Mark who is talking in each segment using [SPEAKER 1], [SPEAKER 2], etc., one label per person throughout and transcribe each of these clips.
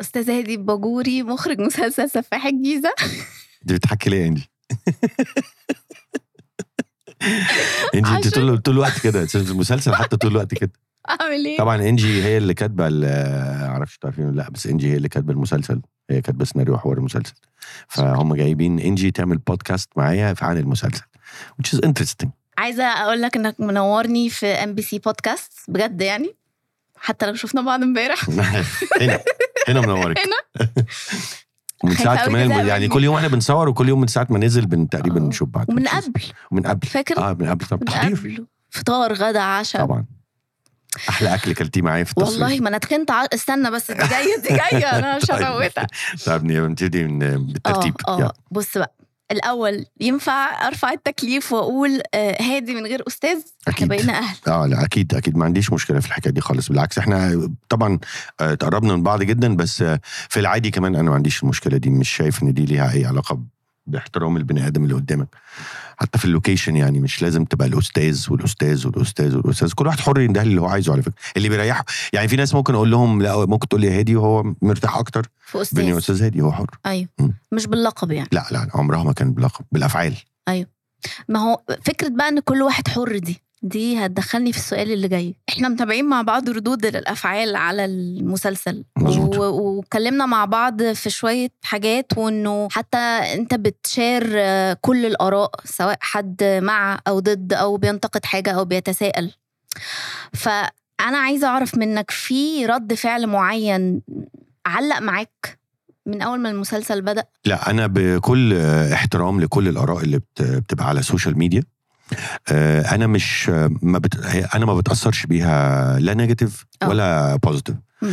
[SPEAKER 1] استاذ هادي باجوري مخرج مسلسل سفاح الجيزه
[SPEAKER 2] دي بتحكي ليه يا انجي انجي انت طول طول الوقت كده المسلسل حتى طول الوقت كده
[SPEAKER 1] اعمل ايه
[SPEAKER 2] طبعا انجي هي اللي كاتبه ال- معرفش تعرفين ولا لا بس انجي هي اللي كاتبه المسلسل هي كاتبه سيناريو حوار المسلسل فهم جايبين انجي تعمل بودكاست معايا عن المسلسل which is interesting
[SPEAKER 1] عايزه اقول لك انك منورني في ام بي سي بودكاست بجد يعني حتى لو شفنا بعض امبارح
[SPEAKER 2] هنا هنا منورك
[SPEAKER 1] هنا
[SPEAKER 2] ومن ساعه
[SPEAKER 1] خايفة
[SPEAKER 2] كمان
[SPEAKER 1] أوي تزهق
[SPEAKER 2] يعني
[SPEAKER 1] مني.
[SPEAKER 2] كل يوم احنا بنصور وكل يوم من ساعه ما نزل بن تقريبا
[SPEAKER 1] آه.
[SPEAKER 2] نشوف بعض
[SPEAKER 1] ومن قبل
[SPEAKER 2] من قبل
[SPEAKER 1] فاكر
[SPEAKER 2] اه من قبل طبعا
[SPEAKER 1] من
[SPEAKER 2] تحضير
[SPEAKER 1] قبل فطار غدا عشاء
[SPEAKER 2] طبعا احلى اكل كلتيه معايا في التصوير
[SPEAKER 1] والله ما انا تخنت ع... استنى بس دي جايه دي جايه انا مش
[SPEAKER 2] طيب.
[SPEAKER 1] هفوتها
[SPEAKER 2] طب نبتدي من بالترتيب
[SPEAKER 1] اه
[SPEAKER 2] يلا.
[SPEAKER 1] اه بص بقى الاول ينفع ارفع التكليف واقول آه، هادي من غير استاذ احنا
[SPEAKER 2] أكيد.
[SPEAKER 1] بقينا اهل
[SPEAKER 2] اه لا اكيد اكيد ما عنديش مشكله في الحكايه دي خالص بالعكس احنا طبعا آه، تقربنا من بعض جدا بس آه، في العادي كمان انا ما عنديش المشكله دي مش شايف ان دي ليها اي علاقه باحترام البني ادم اللي قدامك حتى في اللوكيشن يعني مش لازم تبقى الاستاذ والاستاذ والاستاذ والاستاذ كل واحد حر ينده اللي هو عايزه على فكره اللي بيريحه يعني في ناس ممكن اقول لهم لا ممكن تقول لي هادي وهو مرتاح اكتر
[SPEAKER 1] في استاذ
[SPEAKER 2] بني استاذ هادي هو حر
[SPEAKER 1] ايوه
[SPEAKER 2] مم.
[SPEAKER 1] مش باللقب يعني
[SPEAKER 2] لا لا عمرها ما كان بلقب بالافعال
[SPEAKER 1] ما هو فكره بقى ان كل واحد حر دي دي هتدخلني في السؤال اللي جاي احنا متابعين مع بعض ردود الافعال على المسلسل
[SPEAKER 2] مظبوط.
[SPEAKER 1] و- واتكلمنا مع بعض في شويه حاجات وانه حتى انت بتشار آه، كل الاراء سواء حد مع او ضد او بينتقد حاجه او بيتساءل فانا عايزه اعرف منك في رد فعل معين علق معاك من اول ما المسلسل بدا
[SPEAKER 2] لا انا بكل آه، احترام لكل الاراء اللي بت- بتبقى على السوشيال ميديا آه، انا مش آه، ما بت... هي- انا ما بتاثرش بيها لا نيجاتيف
[SPEAKER 1] آه.
[SPEAKER 2] ولا بوزيتيف
[SPEAKER 1] مم.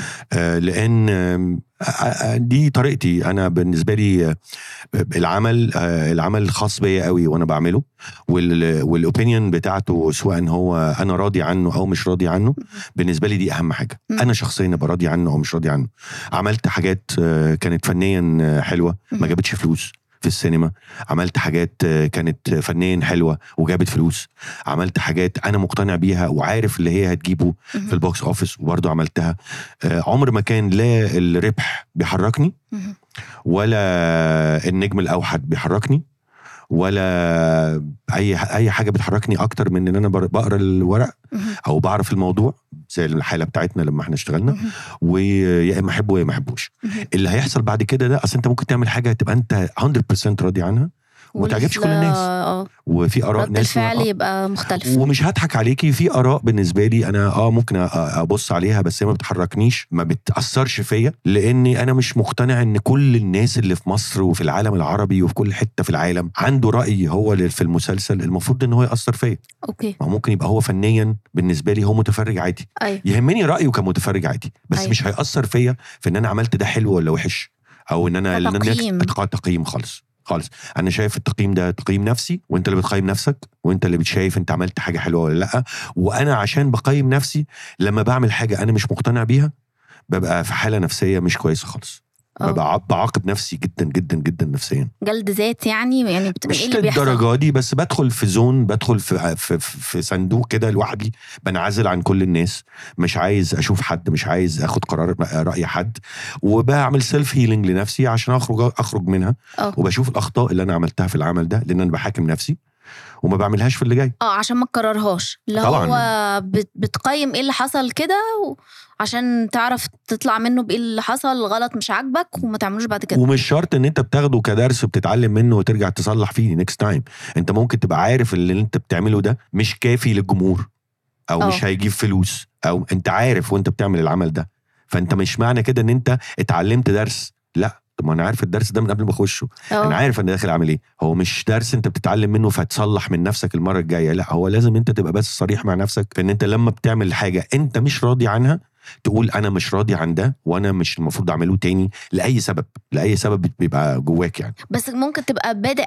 [SPEAKER 2] لان آم، آه، آه، دي طريقتي انا بالنسبه لي آه، العمل آه، العمل خاص بيا قوي وانا بعمله وال... والاوبينيون بتاعته سواء هو انا راضي عنه او مش راضي عنه بالنسبه لي دي اهم حاجه
[SPEAKER 1] مم.
[SPEAKER 2] انا شخصيا ابقى راضي عنه او مش راضي عنه عملت حاجات آه، كانت فنيا آه، حلوه ما جابتش فلوس في السينما عملت حاجات آه، كانت فنيا حلوه وجابت فلوس عملت حاجات انا مقتنع بيها وعارف اللي هي هتجيبه في البوكس اوفيس وبرضه عملتها آه، عمر ما كان لا الربح بيحركني ولا النجم الاوحد بيحركني ولا اي اي حاجه بتحركني اكتر من ان انا بر- بقرا الورق او بعرف الموضوع زي الحاله بتاعتنا لما احنا اشتغلنا ويا اما احبه يا ما احبوش اللي هيحصل بعد كده ده اصل انت ممكن تعمل حاجه تبقى انت 100% راضي عنها وما تعجبش كل الناس.
[SPEAKER 1] اه
[SPEAKER 2] وفي اراء
[SPEAKER 1] رد
[SPEAKER 2] ناس
[SPEAKER 1] الفعل
[SPEAKER 2] آه.
[SPEAKER 1] يبقى مختلف
[SPEAKER 2] ومش هضحك عليكي في اراء بالنسبه لي انا اه ممكن أ- ابص عليها بس هي ما بتحركنيش ما بتاثرش فيا لاني انا مش مقتنع ان كل الناس اللي في مصر وفي العالم العربي وفي كل حته في العالم عنده راي هو اللي في المسلسل المفروض ان هو ياثر فيا
[SPEAKER 1] اوكي
[SPEAKER 2] ما هو ممكن يبقى هو فنيا بالنسبه لي هو متفرج عادي
[SPEAKER 1] ايوه
[SPEAKER 2] يهمني رايه كمتفرج عادي بس
[SPEAKER 1] أيوة.
[SPEAKER 2] أيوة. مش هياثر فيا في ان انا عملت ده حلو ولا وحش او ان انا إن أنا-
[SPEAKER 1] كتقييم.
[SPEAKER 2] أتق- تقييم خالص خالص انا شايف التقييم ده تقييم نفسي وانت اللي بتقيم نفسك وانت اللي بتشايف انت عملت حاجه حلوه ولا لا وانا عشان بقيم نفسي لما بعمل حاجه انا مش مقتنع بيها ببقى في حاله نفسيه مش كويسه خالص
[SPEAKER 1] آه.
[SPEAKER 2] ببقى عق- بعاقب نفسي جدا جدا جدا نفسيا
[SPEAKER 1] جلد ذات يعني يعني بت...
[SPEAKER 2] مش
[SPEAKER 1] ايه اللي بيحصل
[SPEAKER 2] للدرجه دي بس بدخل في زون بدخل في في, في صندوق كده لوحدي بنعزل عن كل الناس مش عايز اشوف حد مش عايز اخد قرار راي حد وبعمل سيلف هيلينج لنفسي عشان اخرج اخرج منها
[SPEAKER 1] اه
[SPEAKER 2] وبشوف الاخطاء اللي انا عملتها في العمل ده لان انا بحاكم نفسي وما بعملهاش في اللي جاي
[SPEAKER 1] اه عشان ما تكررهاش اللي
[SPEAKER 2] طبعاً.
[SPEAKER 1] هو بت... بتقيم ايه اللي حصل كده و... عشان تعرف تطلع منه بايه اللي حصل غلط مش عاجبك وما تعملوش بعد كده
[SPEAKER 2] ومش شرط ان انت بتاخده كدرس وبتتعلم منه وترجع تصلح فيه نيكست تايم انت ممكن تبقى عارف اللي انت بتعمله ده مش كافي للجمهور او
[SPEAKER 1] اه.
[SPEAKER 2] مش هيجيب فلوس او انت عارف وانت بتعمل العمل ده فانت مش معنى كده ان انت اتعلمت درس لا طب ما انا عارف الدرس ده من قبل ما اخشه انا
[SPEAKER 1] اه
[SPEAKER 2] عارف انا داخل اعمل ايه هو مش درس انت بتتعلم منه فتصلح من نفسك المره الجايه لا هو لازم انت تبقى بس صريح مع نفسك في ان انت لما بتعمل حاجه انت مش راضي عنها تقول انا مش راضي عن ده وانا مش المفروض اعمله تاني لاي سبب لاي سبب بيبقى جواك يعني
[SPEAKER 1] بس ممكن تبقى بادئ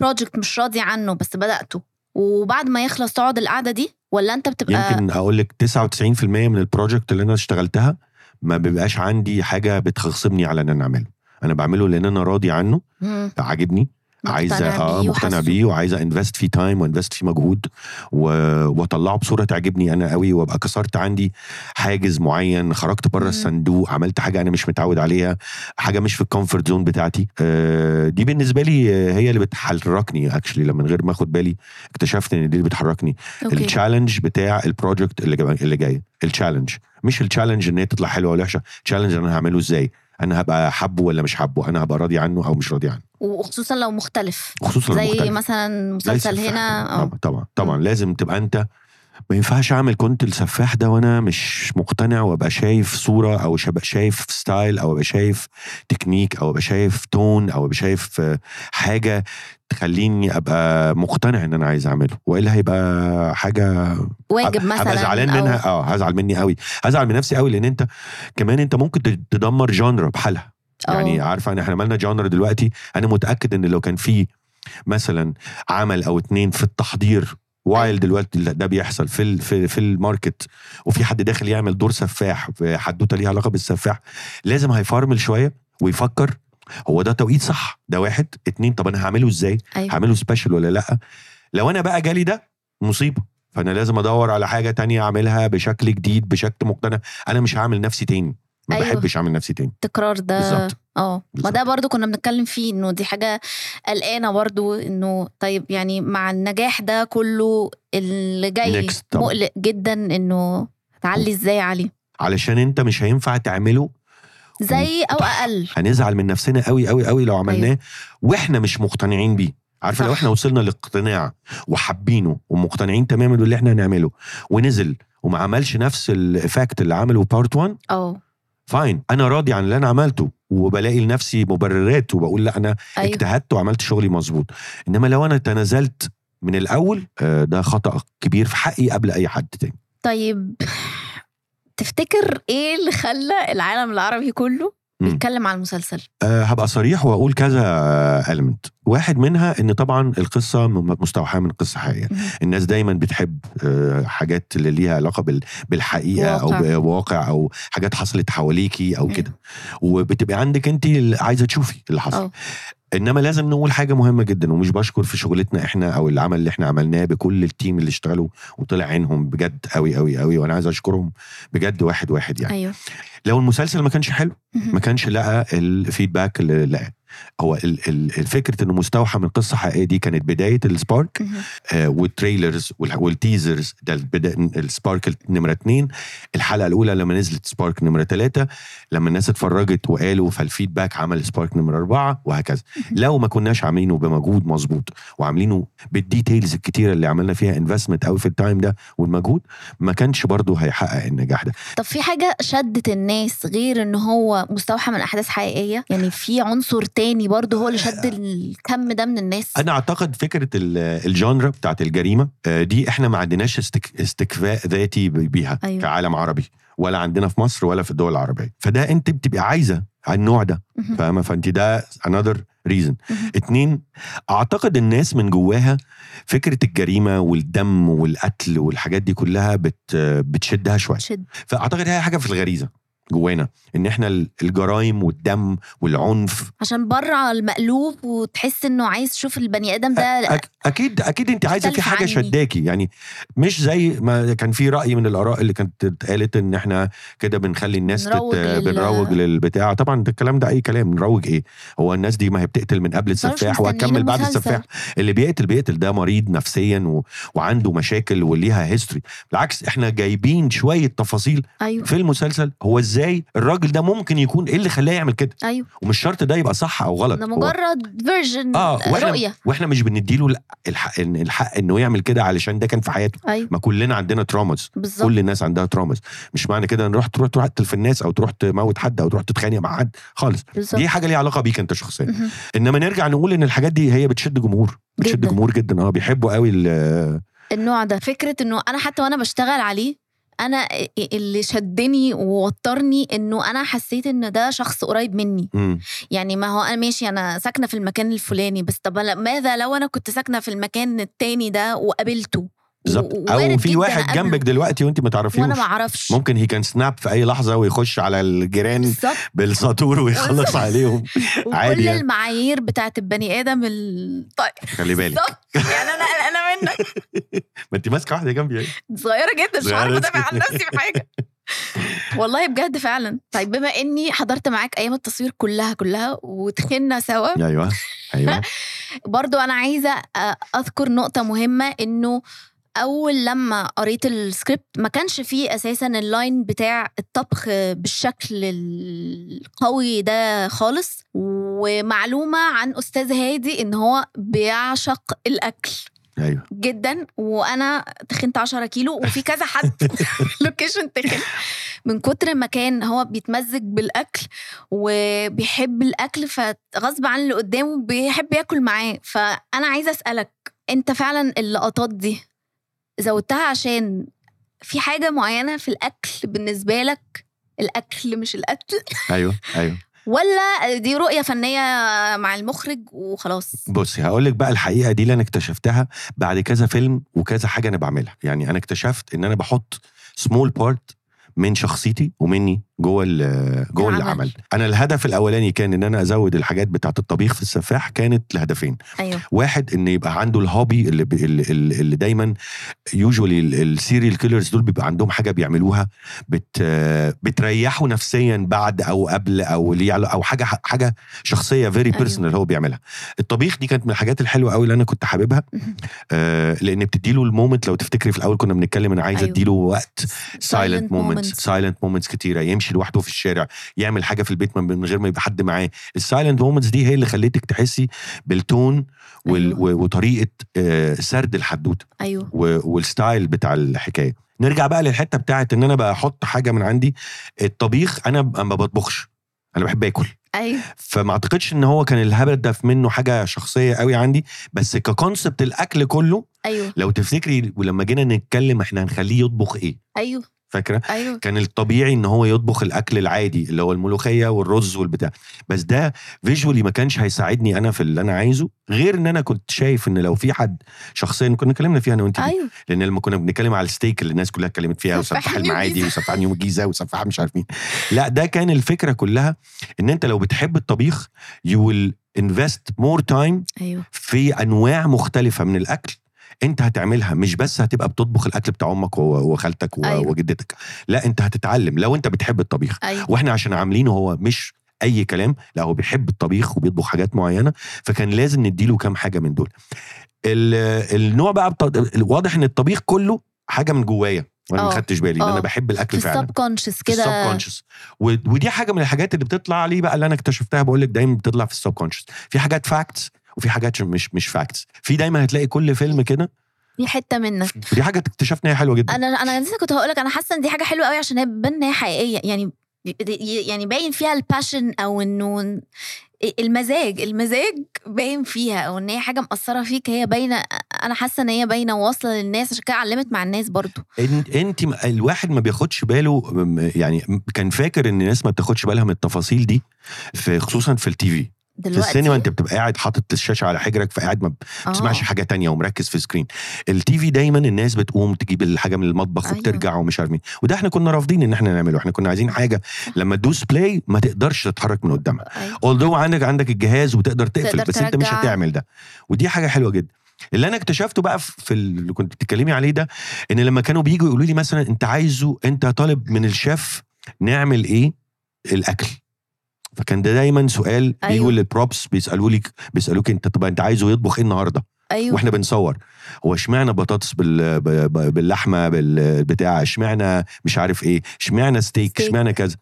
[SPEAKER 1] بروجكت مش راضي عنه بس بدأته وبعد ما يخلص تقعد القعده دي ولا انت بتبقى
[SPEAKER 2] يمكن اقول لك 99% من البروجكت اللي انا اشتغلتها ما بيبقاش عندي حاجه بتخصمني على ان انا اعمله انا بعمله لان انا راضي عنه
[SPEAKER 1] مم.
[SPEAKER 2] عاجبني عايزه اه مقتنع بيه وعايزه انفست فيه تايم وانفست فيه مجهود و- واطلعه بصوره تعجبني انا قوي وابقى كسرت عندي حاجز معين خرجت بره
[SPEAKER 1] مم.
[SPEAKER 2] الصندوق عملت حاجه انا مش متعود عليها حاجه مش في الكومفورت زون بتاعتي آه، دي بالنسبه لي آه، هي اللي بتحركني اكشلي لما من غير ما اخد بالي اكتشفت ان دي اللي بتحركني
[SPEAKER 1] اوكي
[SPEAKER 2] التشالنج بتاع البروجكت اللي جا- اللي جاي التشالنج مش التشالنج ان هي تطلع حلوه ولا وحشه تشالنج انا هعمله ازاي انا هبقى حبه ولا مش حبه انا هبقى راضي عنه او مش راضي عنه
[SPEAKER 1] وخصوصا لو مختلف
[SPEAKER 2] خصوصا لو
[SPEAKER 1] زي
[SPEAKER 2] مختلف.
[SPEAKER 1] مثلا
[SPEAKER 2] لا
[SPEAKER 1] مسلسل
[SPEAKER 2] السفاح
[SPEAKER 1] هنا
[SPEAKER 2] طبعا
[SPEAKER 1] اه
[SPEAKER 2] طبعا, طبعا, طبعاً
[SPEAKER 1] مم.
[SPEAKER 2] لازم تبقى انت ما ينفعش اعمل كنت السفاح ده وانا مش مقتنع وابقى شايف صوره او شب- شايف ستايل او ابقى شايف تكنيك او ابقى شايف تون او ابقى شايف آه، حاجه تخليني ابقى مقتنع ان انا عايز اعمله والا هيبقى حاجه
[SPEAKER 1] واجب مثلا
[SPEAKER 2] هبقى زعلان
[SPEAKER 1] طيب، أو-
[SPEAKER 2] منها اه هزعل مني قوي هزعل من نفسي قوي لان انت كمان انت ممكن تد- تدمر جانرا بحالها
[SPEAKER 1] أو-
[SPEAKER 2] يعني عارفه ان احنا مالنا جانر دلوقتي انا متاكد ان لو كان في مثلا عمل او اتنين في التحضير وايل دلوقتي لا، ده بيحصل في ال- في في الماركت وفي حد داخل يعمل دور سفاح في حدوته ليها علاقه بالسفاح لازم هيفارمل شويه ويفكر هو ده توقيت صح ده واحد اتنين طب انا هعمله ازاي
[SPEAKER 1] ايوه
[SPEAKER 2] هعمله سبيشال ولا لا لو انا بقى جالي ده مصيبه فانا لازم ادور على حاجه تانية اعملها بشكل جديد بشكل مقتنع انا مش هعمل نفسي تاني ما
[SPEAKER 1] أيوة.
[SPEAKER 2] أيوه. بحبش اعمل نفسي تاني
[SPEAKER 1] التكرار ده
[SPEAKER 2] بالظبط.
[SPEAKER 1] اه ما
[SPEAKER 2] بالظبط.
[SPEAKER 1] ده برضو كنا بنتكلم فيه انه دي حاجه قلقانه برضو انه طيب يعني مع النجاح ده كله اللي جاي
[SPEAKER 2] Next طبعاً.
[SPEAKER 1] مقلق جدا انه تعلي ازاي عليه
[SPEAKER 2] علشان انت مش هينفع تعمله
[SPEAKER 1] زي او اقل
[SPEAKER 2] هنزعل من نفسنا قوي قوي قوي لو عملناه أيوه. واحنا مش مقتنعين بيه عارفه لو
[SPEAKER 1] صح.
[SPEAKER 2] احنا وصلنا للاقتناع وحابينه ومقتنعين تماما باللي احنا هنعمله ونزل وما عملش نفس الايفكت اللي عمله بارت 1
[SPEAKER 1] اه
[SPEAKER 2] فاين انا راضي عن اللي انا عملته وبلاقي لنفسي مبررات وبقول لا انا
[SPEAKER 1] ايوه
[SPEAKER 2] اجتهدت وعملت شغلي مظبوط انما لو انا تنازلت من الاول آه، ده خطا كبير في حقي قبل اي حد تاني
[SPEAKER 1] طيب تفتكر ايه اللي خلى العالم العربي كله
[SPEAKER 2] مم.
[SPEAKER 1] بيتكلم على المسلسل
[SPEAKER 2] أه هبقى صريح واقول كذا المنت واحد منها ان طبعا القصه م- مستوحاه من قصه حقيقيه
[SPEAKER 1] مم.
[SPEAKER 2] الناس دايما بتحب آه، حاجات اللي ليها علاقه بال- بالحقيقه
[SPEAKER 1] واقع.
[SPEAKER 2] او بواقع او حاجات حصلت حواليكي او
[SPEAKER 1] أيوة.
[SPEAKER 2] كده وبتبقى عندك انت ال- عايزه تشوفي اللي حصل
[SPEAKER 1] أو.
[SPEAKER 2] انما لازم نقول حاجه مهمه جدا ومش بشكر في شغلتنا احنا او العمل اللي احنا عملناه بكل التيم اللي اشتغلوا وطلع عينهم بجد قوي قوي قوي وانا عايز اشكرهم بجد واحد واحد يعني
[SPEAKER 1] ايوه
[SPEAKER 2] لو المسلسل ما كانش حلو
[SPEAKER 1] مهم.
[SPEAKER 2] ما كانش لقى الفيدباك اللي لقى هو ال- ال- الفكره انه مستوحى من قصه حقيقيه دي كانت بدايه السبارك
[SPEAKER 1] مهم.
[SPEAKER 2] آه والتريلرز والح- والتيزرز ده البدا- السبارك نمره اتنين الحلقه الاولى لما نزلت سبارك نمره تلاته لما الناس اتفرجت وقالوا فالفيدباك عمل سبارك نمره اربعه وهكذا لو ما كناش عاملينه بمجهود مظبوط وعاملينه بالديتيلز الكتيره اللي عملنا فيها انفستمنت قوي في التايم ده والمجهود ما كانش برضه هيحقق النجاح ده
[SPEAKER 1] طب في حاجة شدت الناس غير ان هو مستوحى من احداث حقيقية يعني في عنصر تاني برضه هو اللي شد الكم ده من الناس
[SPEAKER 2] انا اعتقد فكره ال- الجانرا بتاعت الجريمه آه، دي احنا ما عندناش استك... استكفاء ذاتي ب- بيها
[SPEAKER 1] أيوة.
[SPEAKER 2] أيوة. كعالم عربي ولا عندنا في مصر ولا في الدول العربيه فده انت بتبقى عايزه على النوع ده
[SPEAKER 1] مهم.
[SPEAKER 2] فاهمه فانت ده another reason
[SPEAKER 1] مهم.
[SPEAKER 2] اتنين اعتقد الناس من جواها فكره الجريمه والدم والقتل والحاجات دي كلها بت... بتشدها شويه
[SPEAKER 1] شد
[SPEAKER 2] فاعتقد هي حاجه في الغريزه جوانا ان احنا ال- الجرايم والدم والعنف
[SPEAKER 1] عشان بره المقلوب وتحس انه عايز تشوف البني ادم ده
[SPEAKER 2] أك- اكيد اكيد انت عايزه في
[SPEAKER 1] مختلف
[SPEAKER 2] حاجه
[SPEAKER 1] عني.
[SPEAKER 2] شداكي يعني مش زي ما كان في راي من الاراء اللي كانت اتقالت ان احنا كده بنخلي الناس
[SPEAKER 1] بنروج
[SPEAKER 2] تت...
[SPEAKER 1] لل-
[SPEAKER 2] بنروج للبتاع طبعا ده الكلام ده اي كلام نروج ايه هو الناس دي ما هي بتقتل من قبل
[SPEAKER 1] مش
[SPEAKER 2] السفاح
[SPEAKER 1] مستنيين
[SPEAKER 2] وهتكمل بعد
[SPEAKER 1] المسلسل.
[SPEAKER 2] السفاح اللي بيقتل بيقتل ده مريض نفسيا و... وعنده مشاكل وليها هيستوري بالعكس احنا جايبين شويه تفاصيل
[SPEAKER 1] ايوه
[SPEAKER 2] في المسلسل هو ازاي الراجل ده ممكن يكون ايه اللي خلاه يعمل كده
[SPEAKER 1] ايوه
[SPEAKER 2] ومش شرط ده يبقى صح او غلط
[SPEAKER 1] ده
[SPEAKER 2] هو-
[SPEAKER 1] مجرد فيرجن
[SPEAKER 2] اه واحنا
[SPEAKER 1] رؤية
[SPEAKER 2] واحنا مش بنديله الح- الحق إن- الحق انه يعمل كده علشان ده كان في حياته
[SPEAKER 1] ايوه
[SPEAKER 2] ما كلنا عندنا ترامز
[SPEAKER 1] بالظبط
[SPEAKER 2] كل الناس عندها ترامز مش معنى كده ان رحت تروح تروح تقتل في الناس او تروح تموت حد او تروح تتخانق مع حد خالص
[SPEAKER 1] بالظبط
[SPEAKER 2] دي حاجه ليها علاقه بيك انت شخصيا
[SPEAKER 1] مهم.
[SPEAKER 2] انما نرجع نقول ان الحاجات دي هي بتشد جمهور بتشد
[SPEAKER 1] جداً.
[SPEAKER 2] جمهور جدا اه بيحبوا قوي ال-
[SPEAKER 1] النوع ده فكره انه انا حتى وانا بشتغل عليه انا اللي شدني ووترني انه انا حسيت ان ده شخص قريب مني
[SPEAKER 2] مم.
[SPEAKER 1] يعني ما هو انا ماشي انا ساكنه في المكان الفلاني بس طب أنا- ماذا لو انا كنت ساكنه في المكان التاني ده وقابلته
[SPEAKER 2] بالظبط او
[SPEAKER 1] وارد
[SPEAKER 2] في
[SPEAKER 1] جداً
[SPEAKER 2] واحد
[SPEAKER 1] قبله.
[SPEAKER 2] جنبك دلوقتي وانت ما
[SPEAKER 1] وانا
[SPEAKER 2] تعرفيهوش
[SPEAKER 1] ما اعرفش
[SPEAKER 2] ممكن هي كان سناب في اي لحظه ويخش على الجيران
[SPEAKER 1] بالظبط
[SPEAKER 2] بالساطور ويخلص عليهم عادي
[SPEAKER 1] وكل
[SPEAKER 2] يعني.
[SPEAKER 1] المعايير بتاعت البني ادم ال- طيب
[SPEAKER 2] خلي بالك
[SPEAKER 1] بالظبط يعني انا انا منك
[SPEAKER 2] ما انت ماسكه واحده جنبي يعني.
[SPEAKER 1] صغيره جدا مش
[SPEAKER 2] صغيرة
[SPEAKER 1] عارفه
[SPEAKER 2] جداً.
[SPEAKER 1] ادافع عن نفسي في حاجه والله بجد فعلا طيب بما اني حضرت معاك ايام التصوير كلها كلها وتخنا سوا
[SPEAKER 2] ايوه ايوه
[SPEAKER 1] برضو آه، انا عايزه أ- اذكر نقطه مهمه انه اول لما قريت السكريبت ما كانش فيه اساسا اللاين بتاع الطبخ بالشكل القوي ده خالص ومعلومه عن استاذ هادي ان هو بيعشق الاكل
[SPEAKER 2] ايوه
[SPEAKER 1] جدا وانا تخنت 10 كيلو وفي كذا حد لوكيشن تخن من كتر ما كان هو بيتمزج بالاكل وبيحب الاكل فغصب عن اللي قدامه بيحب ياكل معاه فانا عايزه اسالك انت فعلا اللقطات دي زودتها عشان في حاجه معينه في الاكل بالنسبه لك الاكل مش الاكل
[SPEAKER 2] ايوه ايوه
[SPEAKER 1] ولا دي رؤيه فنيه مع المخرج وخلاص
[SPEAKER 2] بصي هقول لك بقى الحقيقه دي اللي انا اكتشفتها بعد كذا فيلم وكذا حاجه انا بعملها يعني انا اكتشفت ان انا بحط سمول بارت من شخصيتي ومني جوه ال- جوه
[SPEAKER 1] العمل.
[SPEAKER 2] العمل انا الهدف الاولاني كان ان انا ازود الحاجات بتاعه الطبيخ في السفاح كانت لهدفين
[SPEAKER 1] ايوه
[SPEAKER 2] واحد ان يبقى عنده الهوبي اللي ب- اللي, اللي اللي دايما يوجوالي السيريال كيلرز دول بيبقى عندهم حاجه بيعملوها بت بتريحه نفسيا بعد او قبل او ليه علاقة- او حاجه حاجه شخصيه فيري
[SPEAKER 1] أيوة.
[SPEAKER 2] بيرسونال هو بيعملها الطبيخ دي كانت من الحاجات الحلوه قوي اللي انا كنت حاببها آه لان بتديله المومنت لو تفتكري في الاول كنا بنتكلم انا عايز
[SPEAKER 1] أيوة.
[SPEAKER 2] اديله وقت
[SPEAKER 1] Silent
[SPEAKER 2] سايلنت مومنتس
[SPEAKER 1] moments.
[SPEAKER 2] سايلنت مومنتس كتيره يمشي لوحده في الشارع يعمل حاجه في البيت من من غير ما يبقى حد معاه السايلنت مومنتس دي هي اللي خليتك تحسي بالتون وال
[SPEAKER 1] أيوة.
[SPEAKER 2] و- وطريقه آه، سرد الحدوته
[SPEAKER 1] ايوه
[SPEAKER 2] و- والستايل بتاع الحكايه نرجع بقى للحته بتاعت ان انا بحط حاجه من عندي الطبيخ انا ب- ما بطبخش انا بحب اكل
[SPEAKER 1] ايوه
[SPEAKER 2] فما اعتقدش ان هو كان الهدف منه حاجه شخصيه قوي عندي بس ككونسبت الاكل كله
[SPEAKER 1] ايوه
[SPEAKER 2] لو تفتكري ولما جينا نتكلم احنا هنخليه يطبخ ايه
[SPEAKER 1] ايوه
[SPEAKER 2] فاكره
[SPEAKER 1] ايوه
[SPEAKER 2] كان الطبيعي ان هو يطبخ الاكل العادي اللي هو الملوخيه والرز والبتاع بس ده فيجولي ما كانش هيساعدني انا في اللي انا عايزه غير ان انا كنت شايف ان لو في حد شخصيا كنا اتكلمنا فيها انا وانت دي،
[SPEAKER 1] ايوه
[SPEAKER 2] لان لما كنا بنتكلم على الستيك اللي الناس كلها اتكلمت فيها وسفاح
[SPEAKER 1] سفاح
[SPEAKER 2] المعادي
[SPEAKER 1] الجيزة.
[SPEAKER 2] وسفاح يوم الجيزه وسفاح مش عارف مين لا ده كان الفكره كلها ان انت لو بتحب الطبيخ يو ويل انفست مور تايم
[SPEAKER 1] ايوه
[SPEAKER 2] في انواع مختلفه من الاكل انت هتعملها مش بس هتبقى بتطبخ الاكل بتاع امك و- وخالتك و-
[SPEAKER 1] أيوة.
[SPEAKER 2] وجدتك لا انت هتتعلم لو انت بتحب الطبيخ
[SPEAKER 1] ايوه
[SPEAKER 2] واحنا عشان عاملينه هو مش اي كلام لا هو بيحب الطبيخ وبيطبخ حاجات معينه فكان لازم نديله كام حاجه من دول ال- النوع بقى بتا... واضح ان الطبيخ كله حاجه من جوايا وانا ما
[SPEAKER 1] آه.
[SPEAKER 2] خدتش بالي ان
[SPEAKER 1] آه.
[SPEAKER 2] انا بحب
[SPEAKER 1] في
[SPEAKER 2] الاكل فعلا
[SPEAKER 1] السب كونشس
[SPEAKER 2] في
[SPEAKER 1] كده
[SPEAKER 2] subconscious. و- ودي حاجه من الحاجات اللي بتطلع لي بقى اللي انا اكتشفتها بقول لك دايما بتطلع في السب كونشس في حاجات فاكتس وفي حاجات مش مش فاكتس في دايما هتلاقي كل فيلم كده
[SPEAKER 1] دي حته منك
[SPEAKER 2] ودي حاجه اكتشفنا هي حلوه جدا
[SPEAKER 1] انا انا لسه كنت هقول لك انا حاسه ان دي حاجه حلوه قوي عشان هي بتبان ان هي حقيقيه يعني يعني باين فيها الباشن او انه المزاج المزاج باين فيها او ان هي حاجه مأثره فيك هي باينه انا حاسه ان هي باينه وواصله للناس عشان كده علمت مع الناس برضو
[SPEAKER 2] إن- انت م- الواحد ما بياخدش باله م- يعني م- كان فاكر ان الناس ما بتاخدش بالها من التفاصيل دي في خصوصا في التي في
[SPEAKER 1] دلوقتي
[SPEAKER 2] السينما انت بتبقى قاعد حاطط الشاشه على حجرك فقاعد ما
[SPEAKER 1] آه.
[SPEAKER 2] بتسمعش حاجه تانية ومركز في سكرين التي في دايما الناس بتقوم تجيب الحاجه من المطبخ
[SPEAKER 1] أيوة.
[SPEAKER 2] أيوة. وبترجع ومش عارف مين وده احنا كنا رافضين ان احنا نعمله احنا كنا عايزين حاجه لما تدوس بلاي ما تقدرش تتحرك من قدامها
[SPEAKER 1] أيوة.
[SPEAKER 2] اولدو عندك عندك الجهاز وتقدر تقفل
[SPEAKER 1] تقدر
[SPEAKER 2] بس انت مش
[SPEAKER 1] ترجع.
[SPEAKER 2] هتعمل ده ودي حاجه حلوه جدا اللي انا اكتشفته بقى في في اللي كنت بتتكلمي عليه ده ان لما كانوا بييجوا يقولوا لي مثلا انت عايزه انت طالب من الشيف نعمل ايه الاكل فكان ده دايما سؤال
[SPEAKER 1] أيوة.
[SPEAKER 2] بيجوا للبروبس بيسالوا لي بيسالوك انت طب انت عايزه يطبخ ايه النهارده
[SPEAKER 1] ايوه
[SPEAKER 2] واحنا بنصور هو اشمعنى بطاطس بال... ب- ب- باللحمه بالبتاع اشمعنى مش عارف ايه اشمعنى ستيك
[SPEAKER 1] ستيك.
[SPEAKER 2] اشمعنى كذا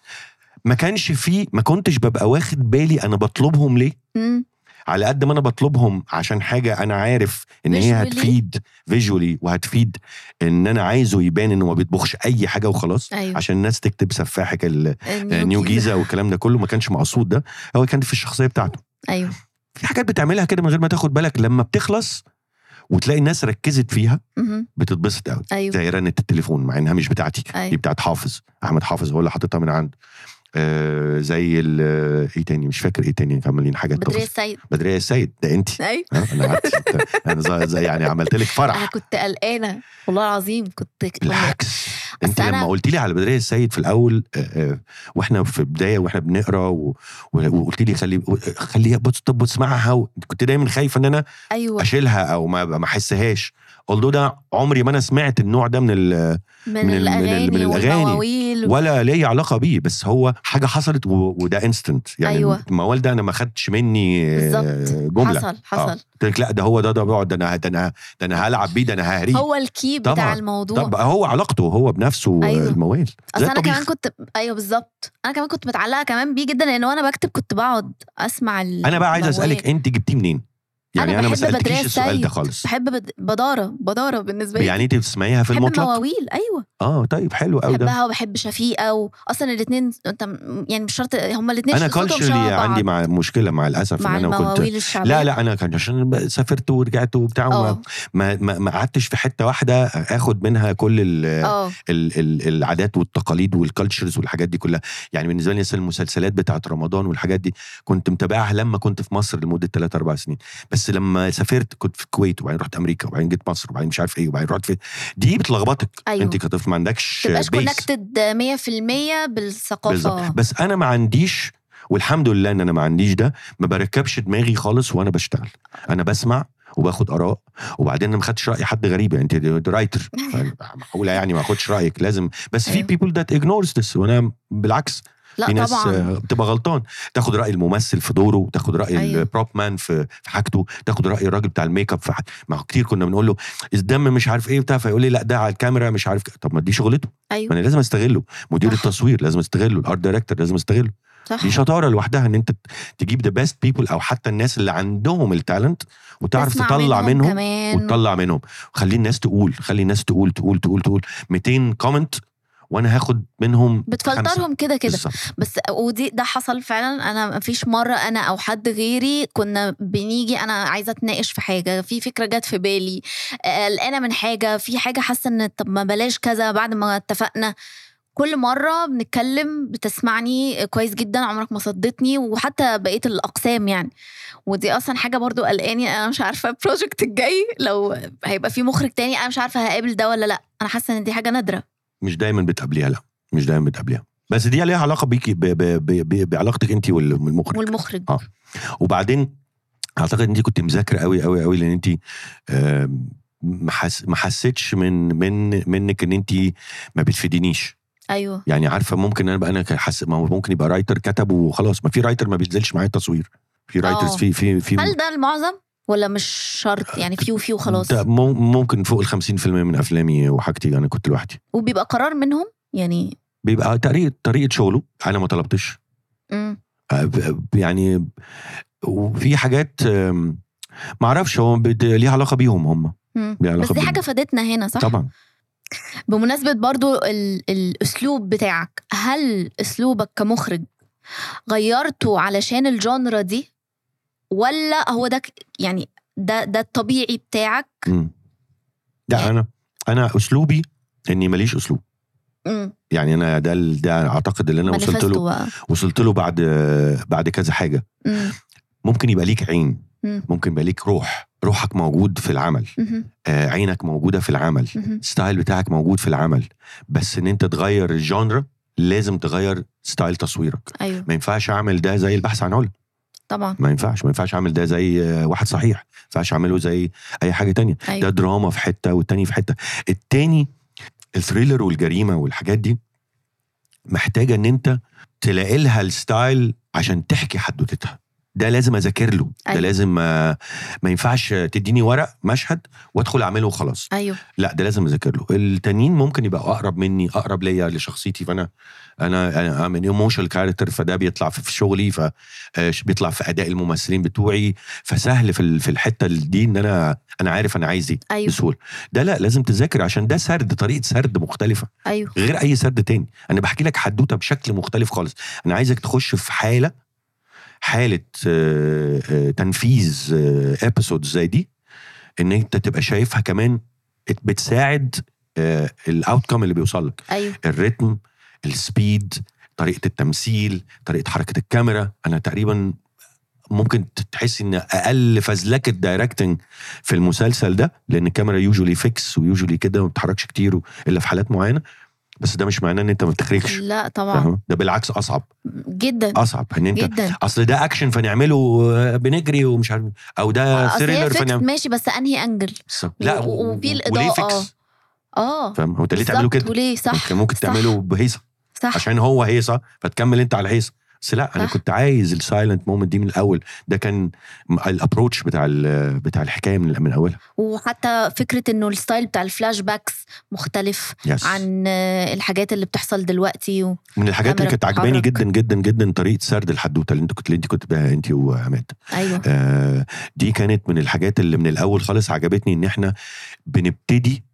[SPEAKER 2] ما كانش فيه ما كنتش ببقى واخد بالي انا بطلبهم ليه
[SPEAKER 1] مم.
[SPEAKER 2] على قد ما انا بطلبهم عشان حاجه انا عارف ان هي
[SPEAKER 1] Visually.
[SPEAKER 2] هتفيد فيجولي وهتفيد ان انا عايزه يبان انه ما بيطبخش اي حاجه وخلاص
[SPEAKER 1] ايوه
[SPEAKER 2] عشان الناس تكتب سفاحك ال-
[SPEAKER 1] النيو
[SPEAKER 2] نيو
[SPEAKER 1] جيزة.
[SPEAKER 2] جيزه والكلام ده كله ما كانش مقصود ده هو كان في الشخصيه بتاعته
[SPEAKER 1] ايوه
[SPEAKER 2] في حاجات بتعملها كده من غير ما تاخد بالك لما بتخلص وتلاقي الناس ركزت فيها
[SPEAKER 1] مهم.
[SPEAKER 2] بتتبسط قوي
[SPEAKER 1] ايوه
[SPEAKER 2] زي رنة التليفون مع انها مش بتاعتي
[SPEAKER 1] أيوة.
[SPEAKER 2] دي بتاعت حافظ احمد حافظ هو اللي حاططها من عنده آه زي ال- ايه تاني مش فاكر ايه تاني عمالين حاجات
[SPEAKER 1] بدرية
[SPEAKER 2] تفاصيل
[SPEAKER 1] السيد
[SPEAKER 2] بدريه السيد ده انت
[SPEAKER 1] ايوه
[SPEAKER 2] انا قعدت انا زي- زي يعني عملت لك
[SPEAKER 1] انا
[SPEAKER 2] فرح
[SPEAKER 1] كنت قلقانه والله العظيم كنت كنت-
[SPEAKER 2] بالعكس انت
[SPEAKER 1] أصل أنا-
[SPEAKER 2] لما قلت لي على بدريه السيد في الاول آه، آه، واحنا في بدايه واحنا بنقرا و- و- وقلت لي خلي خليها بص طب اسمعها و- كنت دايما خايفه ان انا
[SPEAKER 1] ايوه
[SPEAKER 2] اشيلها او ما ما احسهاش قلت ده عمري ما انا سمعت النوع ده من ال-
[SPEAKER 1] من,
[SPEAKER 2] من ال- من ال-
[SPEAKER 1] الاغاني
[SPEAKER 2] من الأغاني.
[SPEAKER 1] والمواويل
[SPEAKER 2] ولا ليا علاقه بيه بس هو حاجه حصلت و- وده انستنت يعني
[SPEAKER 1] أيوة.
[SPEAKER 2] الموال ده انا ما خدتش مني آه،
[SPEAKER 1] بالظبط.
[SPEAKER 2] جمله
[SPEAKER 1] حصل
[SPEAKER 2] آه.
[SPEAKER 1] حصل
[SPEAKER 2] قلت لك لا ده هو ده ده بيقعد ده انا ده انا ده انا هلعب بيه ده انا ههريه
[SPEAKER 1] هو الكي بتاع
[SPEAKER 2] إيه. طبعاً.
[SPEAKER 1] الموضوع
[SPEAKER 2] طب هو علاقته هو بنفسه
[SPEAKER 1] أيوة.
[SPEAKER 2] أيوة. الموال
[SPEAKER 1] اصل انا كمان كنت ايوه بالظبط انا كمان كنت متعلقه كمان بيه جدا لان وانا بكتب كنت بقعد اسمع ال-
[SPEAKER 2] انا بقى عايز إيه؟
[SPEAKER 1] الموال.
[SPEAKER 2] اسالك انت جبتيه منين يعني انا, أنا ما
[SPEAKER 1] بحب
[SPEAKER 2] سالتكيش
[SPEAKER 1] بدرية
[SPEAKER 2] السؤال
[SPEAKER 1] السيد.
[SPEAKER 2] ده خالص
[SPEAKER 1] بحب بد- بداره بداره بالنسبه لي
[SPEAKER 2] يعني انت بتسمعيها في
[SPEAKER 1] بحب
[SPEAKER 2] المطلق
[SPEAKER 1] المواويل ايوه
[SPEAKER 2] اه طيب حلو قوي ده
[SPEAKER 1] بحبها وبحب شفيقه واصلا الاثنين انت م- يعني مش شرط هما الاثنين
[SPEAKER 2] انا كالتشرلي عندي مع مشكله مع الاسف
[SPEAKER 1] مع
[SPEAKER 2] ان انا كنت
[SPEAKER 1] المواويل الشعبيه
[SPEAKER 2] لا لا انا كان عشان ب- سافرت ورجعت وبتاع وما-
[SPEAKER 1] اه
[SPEAKER 2] ما ما ما قعدتش في حته واحده اخد منها كل ال
[SPEAKER 1] اه
[SPEAKER 2] ال ال العادات والتقاليد والكالتشرز والحاجات دي كلها يعني بالنسبه لي مثلا المسلسلات بتاعت رمضان والحاجات دي كنت متابعها لما كنت في مصر لمده 3 4 سنين بس لما سافرت كنت في الكويت وبعدين رحت امريكا وبعدين جيت مصر وبعدين مش عارف ايه وبعدين رحت في دي بتلخبطك
[SPEAKER 1] أيوة.
[SPEAKER 2] انت كطفل ما عندكش
[SPEAKER 1] تبقاش
[SPEAKER 2] بيس
[SPEAKER 1] كونكتد 100%
[SPEAKER 2] بالظبط
[SPEAKER 1] بالثقافه
[SPEAKER 2] بس انا ما عنديش والحمد لله ان انا ما عنديش ده ما بركبش دماغي خالص وانا بشتغل انا بسمع وباخد اراء وبعدين انا ما خدتش راي حد غريب يعني انت رايتر معقوله يعني ما اخدش رايك لازم بس في
[SPEAKER 1] أيوة.
[SPEAKER 2] بيبل ذات اجنورز ذس وانا بالعكس في
[SPEAKER 1] لا
[SPEAKER 2] ناس
[SPEAKER 1] طبعا
[SPEAKER 2] آه، بتبقى غلطان تاخد راي الممثل في دوره تاخد راي
[SPEAKER 1] أيوة.
[SPEAKER 2] البروب مان في في حاجته تاخد راي الراجل بتاع الميك اب في حاجته ما هو كتير كنا بنقول له الدم مش عارف ايه بتاع فيقول لي لا ده على الكاميرا مش عارف ك- طب ما دي شغلته ما
[SPEAKER 1] ايوه
[SPEAKER 2] انا يعني لازم استغله مدير
[SPEAKER 1] صح.
[SPEAKER 2] التصوير لازم استغله الارت دايركتور لازم استغله
[SPEAKER 1] صح
[SPEAKER 2] دي شطاره لوحدها ان انت تجيب ذا بيست بيبل او حتى الناس اللي عندهم التالنت وتعرف
[SPEAKER 1] تسمع
[SPEAKER 2] تطلع منهم
[SPEAKER 1] كمان
[SPEAKER 2] وتطلع منهم خلي الناس تقول خلي الناس تقول تقول تقول تقول 200 كومنت وانا هاخد منهم خمسة.
[SPEAKER 1] بتفلترهم كده كده
[SPEAKER 2] بالظبط.
[SPEAKER 1] بس ودي ده حصل فعلا انا مفيش مره انا او حد غيري كنا بنيجي انا عايزه اتناقش في حاجه في فكره جت في بالي آه، قلقانه من حاجه في حاجه حاسه ان طب ما بلاش كذا بعد ما اتفقنا كل مرة بنتكلم بتسمعني كويس جدا عمرك ما صدتني وحتى بقية الأقسام يعني ودي أصلا حاجة برضو قلقاني أنا مش عارفة البروجكت الجاي لو هيبقى في مخرج تاني أنا مش عارفة هقابل ده ولا لأ أنا حاسة إن دي حاجة نادرة
[SPEAKER 2] مش دايما بتقابليها لا مش دايما بتقابليها بس دي ليها علاقه بيكي ب... ب... ب... ب... بعلاقتك انت والمخرج
[SPEAKER 1] والمخرج
[SPEAKER 2] آه. وبعدين اعتقد ان انت كنت مذاكره قوي قوي قوي لان انت آم، ما حس- ما حسيتش من من منك ان انت ما بتفيدينيش
[SPEAKER 1] أيوه
[SPEAKER 2] يعني عارفه ممكن انا بقى انا حس ما هو ممكن يبقى رايتر كتب وخلاص ما في رايتر ما بينزلش معايا التصوير في رايترز
[SPEAKER 1] آه.
[SPEAKER 2] في في في
[SPEAKER 1] هل ده المعظم ولا مش شرط يعني فيو فيو خلاص
[SPEAKER 2] ده مم- ممكن فوق ال 50% من افلامي وحاجتي انا كنت لوحدي
[SPEAKER 1] وبيبقى قرار منهم يعني
[SPEAKER 2] بيبقى طريقه طريقه شغله انا ما طلبتش
[SPEAKER 1] مم.
[SPEAKER 2] آه، ب- ب- يعني وفي حاجات آم، ما اعرفش هو بت- ليها علاقه بيهم هم
[SPEAKER 1] مم.
[SPEAKER 2] ليها علاقة
[SPEAKER 1] بس دي
[SPEAKER 2] بال-
[SPEAKER 1] حاجه فادتنا هنا صح
[SPEAKER 2] طبعا
[SPEAKER 1] بمناسبه برضو ال- الاسلوب بتاعك هل اسلوبك كمخرج غيرته علشان الجانرا دي ولا هو ده ك- يعني ده ده الطبيعي بتاعك
[SPEAKER 2] مم. يعني لا انا انا اسلوبي اني ماليش اسلوب
[SPEAKER 1] مم.
[SPEAKER 2] يعني انا ده ال- ده اعتقد اللي انا وصلت
[SPEAKER 1] مانيفستو
[SPEAKER 2] له
[SPEAKER 1] بقى
[SPEAKER 2] وصلت له بعد بعد كذا حاجه
[SPEAKER 1] مم.
[SPEAKER 2] ممكن يبقى ليك عين
[SPEAKER 1] مم.
[SPEAKER 2] ممكن يبقى ليك روح روحك موجود في العمل
[SPEAKER 1] مهم.
[SPEAKER 2] آه عينك موجوده في العمل
[SPEAKER 1] مهم.
[SPEAKER 2] الستايل بتاعك موجود في العمل بس ان انت تغير الجانرا لازم تغير ستايل تصويرك
[SPEAKER 1] ايوه
[SPEAKER 2] ما ينفعش اعمل ده زي البحث عن علم
[SPEAKER 1] طبعا
[SPEAKER 2] ما ينفعش ما ينفعش اعمل ده زي آه، واحد صحيح ما ينفعش اعمله زي اي حاجه تانية ده
[SPEAKER 1] ايوه
[SPEAKER 2] دراما في حته والتاني في حته التاني الثريلر والجريمه والحاجات دي محتاجه ان انت تلاقي لها الستايل عشان تحكي حدوتتها ده لازم اذاكر له ده
[SPEAKER 1] أيوة.
[SPEAKER 2] لازم آه، ما ينفعش تديني ورق مشهد وادخل اعمله وخلاص
[SPEAKER 1] ايوه
[SPEAKER 2] لا ده لازم اذاكر له التانيين ممكن يبقى اقرب مني اقرب ليا لشخصيتي فانا انا انا من ايموشنال كاركتر فده بيطلع في في شغلي فبيطلع في اداء الممثلين بتوعي فسهل في ال- في الحته دي ان انا انا عارف انا عايز ايه
[SPEAKER 1] ايوه
[SPEAKER 2] بسهوله ده لا لازم تذاكر عشان ده سرد طريقه سرد مختلفه
[SPEAKER 1] ايوه
[SPEAKER 2] غير اي سرد تاني انا بحكي لك حدوته بشكل مختلف خالص انا عايزك تخش في حاله حاله آه، آه، تنفيذ ابيسود زي دي ان انت تبقى شايفها كمان بت- بتساعد الاوتكم اللي بيوصل لك
[SPEAKER 1] ايوه
[SPEAKER 2] الريتم السبيد طريقه التمثيل طريقه حركه الكاميرا انا تقريبا ممكن تحس ان اقل فزلكه دايركتنج في المسلسل ده لان الكاميرا يوجولي فيكس ويوجولي كده ما بتتحركش كتير و- الا في حالات معينه بس ده مش معناه ان انت ما بتخرجش
[SPEAKER 1] لا طبعا
[SPEAKER 2] فاهمة؟ ده بالعكس اصعب
[SPEAKER 1] جدا
[SPEAKER 2] اصعب ان انت
[SPEAKER 1] جدا
[SPEAKER 2] اصل ده اكشن فنعمله آه، بنجري ومش عارف او ده
[SPEAKER 1] اصل آه، هي
[SPEAKER 2] ثريلر
[SPEAKER 1] فكرة
[SPEAKER 2] فنعمله
[SPEAKER 1] ماشي بس انهي انجل
[SPEAKER 2] لا
[SPEAKER 1] و-
[SPEAKER 2] و-
[SPEAKER 1] وفي
[SPEAKER 2] و-
[SPEAKER 1] الإضاءة.
[SPEAKER 2] وليه فيكس
[SPEAKER 1] اه
[SPEAKER 2] فاهم هو انت ليه تعمله
[SPEAKER 1] بالظبط،
[SPEAKER 2] كده
[SPEAKER 1] وليه صح
[SPEAKER 2] ممكن, ممكن
[SPEAKER 1] صح،
[SPEAKER 2] تعمله بهيصه
[SPEAKER 1] صح
[SPEAKER 2] عشان هو هيصه فتكمل انت على الهيصه بس لا انا
[SPEAKER 1] صح.
[SPEAKER 2] كنت عايز السايلنت مومنت دي من الاول ده كان م- الابروتش بتاع ال- بتاع الحكايه من من اولها
[SPEAKER 1] وحتى فكرة انه الستايل بتاع الفلاش باكس مختلف
[SPEAKER 2] يس
[SPEAKER 1] عن آه، الحاجات اللي بتحصل دلوقتي و...
[SPEAKER 2] من الحاجات اللي
[SPEAKER 1] الكاميرا
[SPEAKER 2] كانت عجباني
[SPEAKER 1] بتتحرك.
[SPEAKER 2] جدا جدا جدا طريقه سرد الحدوته اللي انت كنت اللي انت كنت بها انت وعماد
[SPEAKER 1] ايوه
[SPEAKER 2] آه، دي كانت من الحاجات اللي من الاول خالص عجبتني ان احنا بنبتدي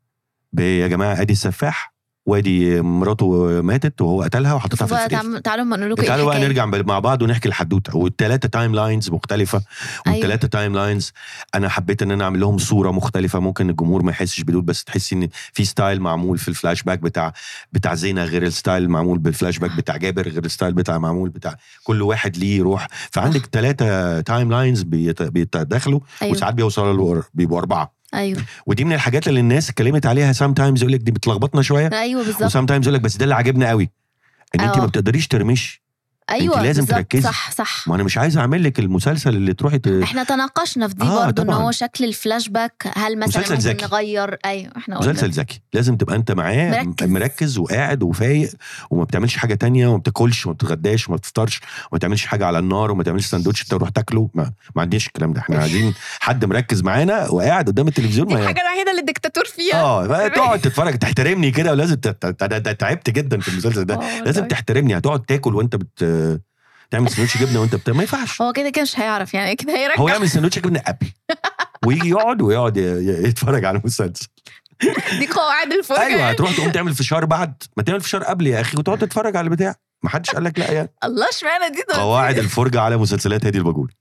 [SPEAKER 2] ب- يا جماعه ادي السفاح وادي مراته ماتت وهو قتلها وحطتها في
[SPEAKER 1] بقى
[SPEAKER 2] الفريزر
[SPEAKER 1] تعم- تعالوا ما نقول لكم إيه
[SPEAKER 2] تعالوا بقى نرجع ب- مع بعض ونحكي الحدوته والثلاثه تايم لاينز مختلفه
[SPEAKER 1] أيوه، أيوة.
[SPEAKER 2] والثلاثه تايم لاينز انا حبيت ان انا اعمل لهم صوره مختلفه ممكن الجمهور ما يحسش بدول بس تحسي ان في ستايل معمول في الفلاش باك بتاع بتاع زينه غير الستايل المعمول بالفلاش باك بتاع جابر غير الستايل بتاع معمول بتاع كل واحد ليه روح فعندك ثلاثه تايم لاينز بيت- بيتداخلوا
[SPEAKER 1] ايوه
[SPEAKER 2] وساعات بيوصلوا لأر- بيبقوا اربعه
[SPEAKER 1] ايوه
[SPEAKER 2] ودي من الحاجات اللي الناس اتكلمت عليها سام تايمز يقول لك دي بتلخبطنا شويه
[SPEAKER 1] ايوه بالظبط
[SPEAKER 2] وسام تايمز يقول لك بس ده اللي عاجبنا قوي ان انت
[SPEAKER 1] آه.
[SPEAKER 2] ما بتقدريش ترمشي
[SPEAKER 1] ايوه
[SPEAKER 2] لازم
[SPEAKER 1] بالظبط،
[SPEAKER 2] تركزي.
[SPEAKER 1] صح صح
[SPEAKER 2] ما انا مش عايز اعمل لك المسلسل اللي تروحي ت...
[SPEAKER 1] احنا تناقشنا في دي
[SPEAKER 2] آه،
[SPEAKER 1] آه برضه ان
[SPEAKER 2] طبعاً.
[SPEAKER 1] هو شكل الفلاش باك هل مثلا
[SPEAKER 2] مسلسل
[SPEAKER 1] ممكن
[SPEAKER 2] ذكي.
[SPEAKER 1] نغير ايوه احنا قلنا
[SPEAKER 2] مسلسل ذكي لازم تبقى انت معاه
[SPEAKER 1] مركز.
[SPEAKER 2] مركز, مركز وقاعد وفايق وما بتعملش حاجه تانية وما بتاكلش وما بتتغداش وما بتفطرش وما تعملش حاجه على النار وما تعملش سندوتش انت تروح تاكله ما, ما عنديش الكلام ده احنا عايزين حد مركز معانا وقاعد قدام التلفزيون
[SPEAKER 1] دي
[SPEAKER 2] ما
[SPEAKER 1] الحاجه الوحيده اللي الدكتاتور فيها
[SPEAKER 2] اه بقى تقعد تتفرج تحترمني كده ولازم ت- ت- ت- انا تعبت جدا في المسلسل ده
[SPEAKER 1] آه،
[SPEAKER 2] لازم
[SPEAKER 1] والله.
[SPEAKER 2] تحترمني هتقعد تاكل وانت بت تعمل سندوتش جبنه وانت بت... ما ينفعش
[SPEAKER 1] هو كده كده مش هيعرف يعني كده
[SPEAKER 2] هو
[SPEAKER 1] هيرجع
[SPEAKER 2] يعمل سندوتش جبنه ابي ويجي يقعد ويقعد ي- ي- يتفرج على المسلسل
[SPEAKER 1] دي قواعد الفرجه
[SPEAKER 2] ايوه
[SPEAKER 1] يعني.
[SPEAKER 2] هتروح تقوم تعمل فشار بعد ما تعمل فشار قبل يا اخي وتقعد تتفرج على البتاع ما حدش قال لك لا يعني
[SPEAKER 1] الله اشمعنى دي ده
[SPEAKER 2] قواعد الفرجه على مسلسلات هادي الباجوري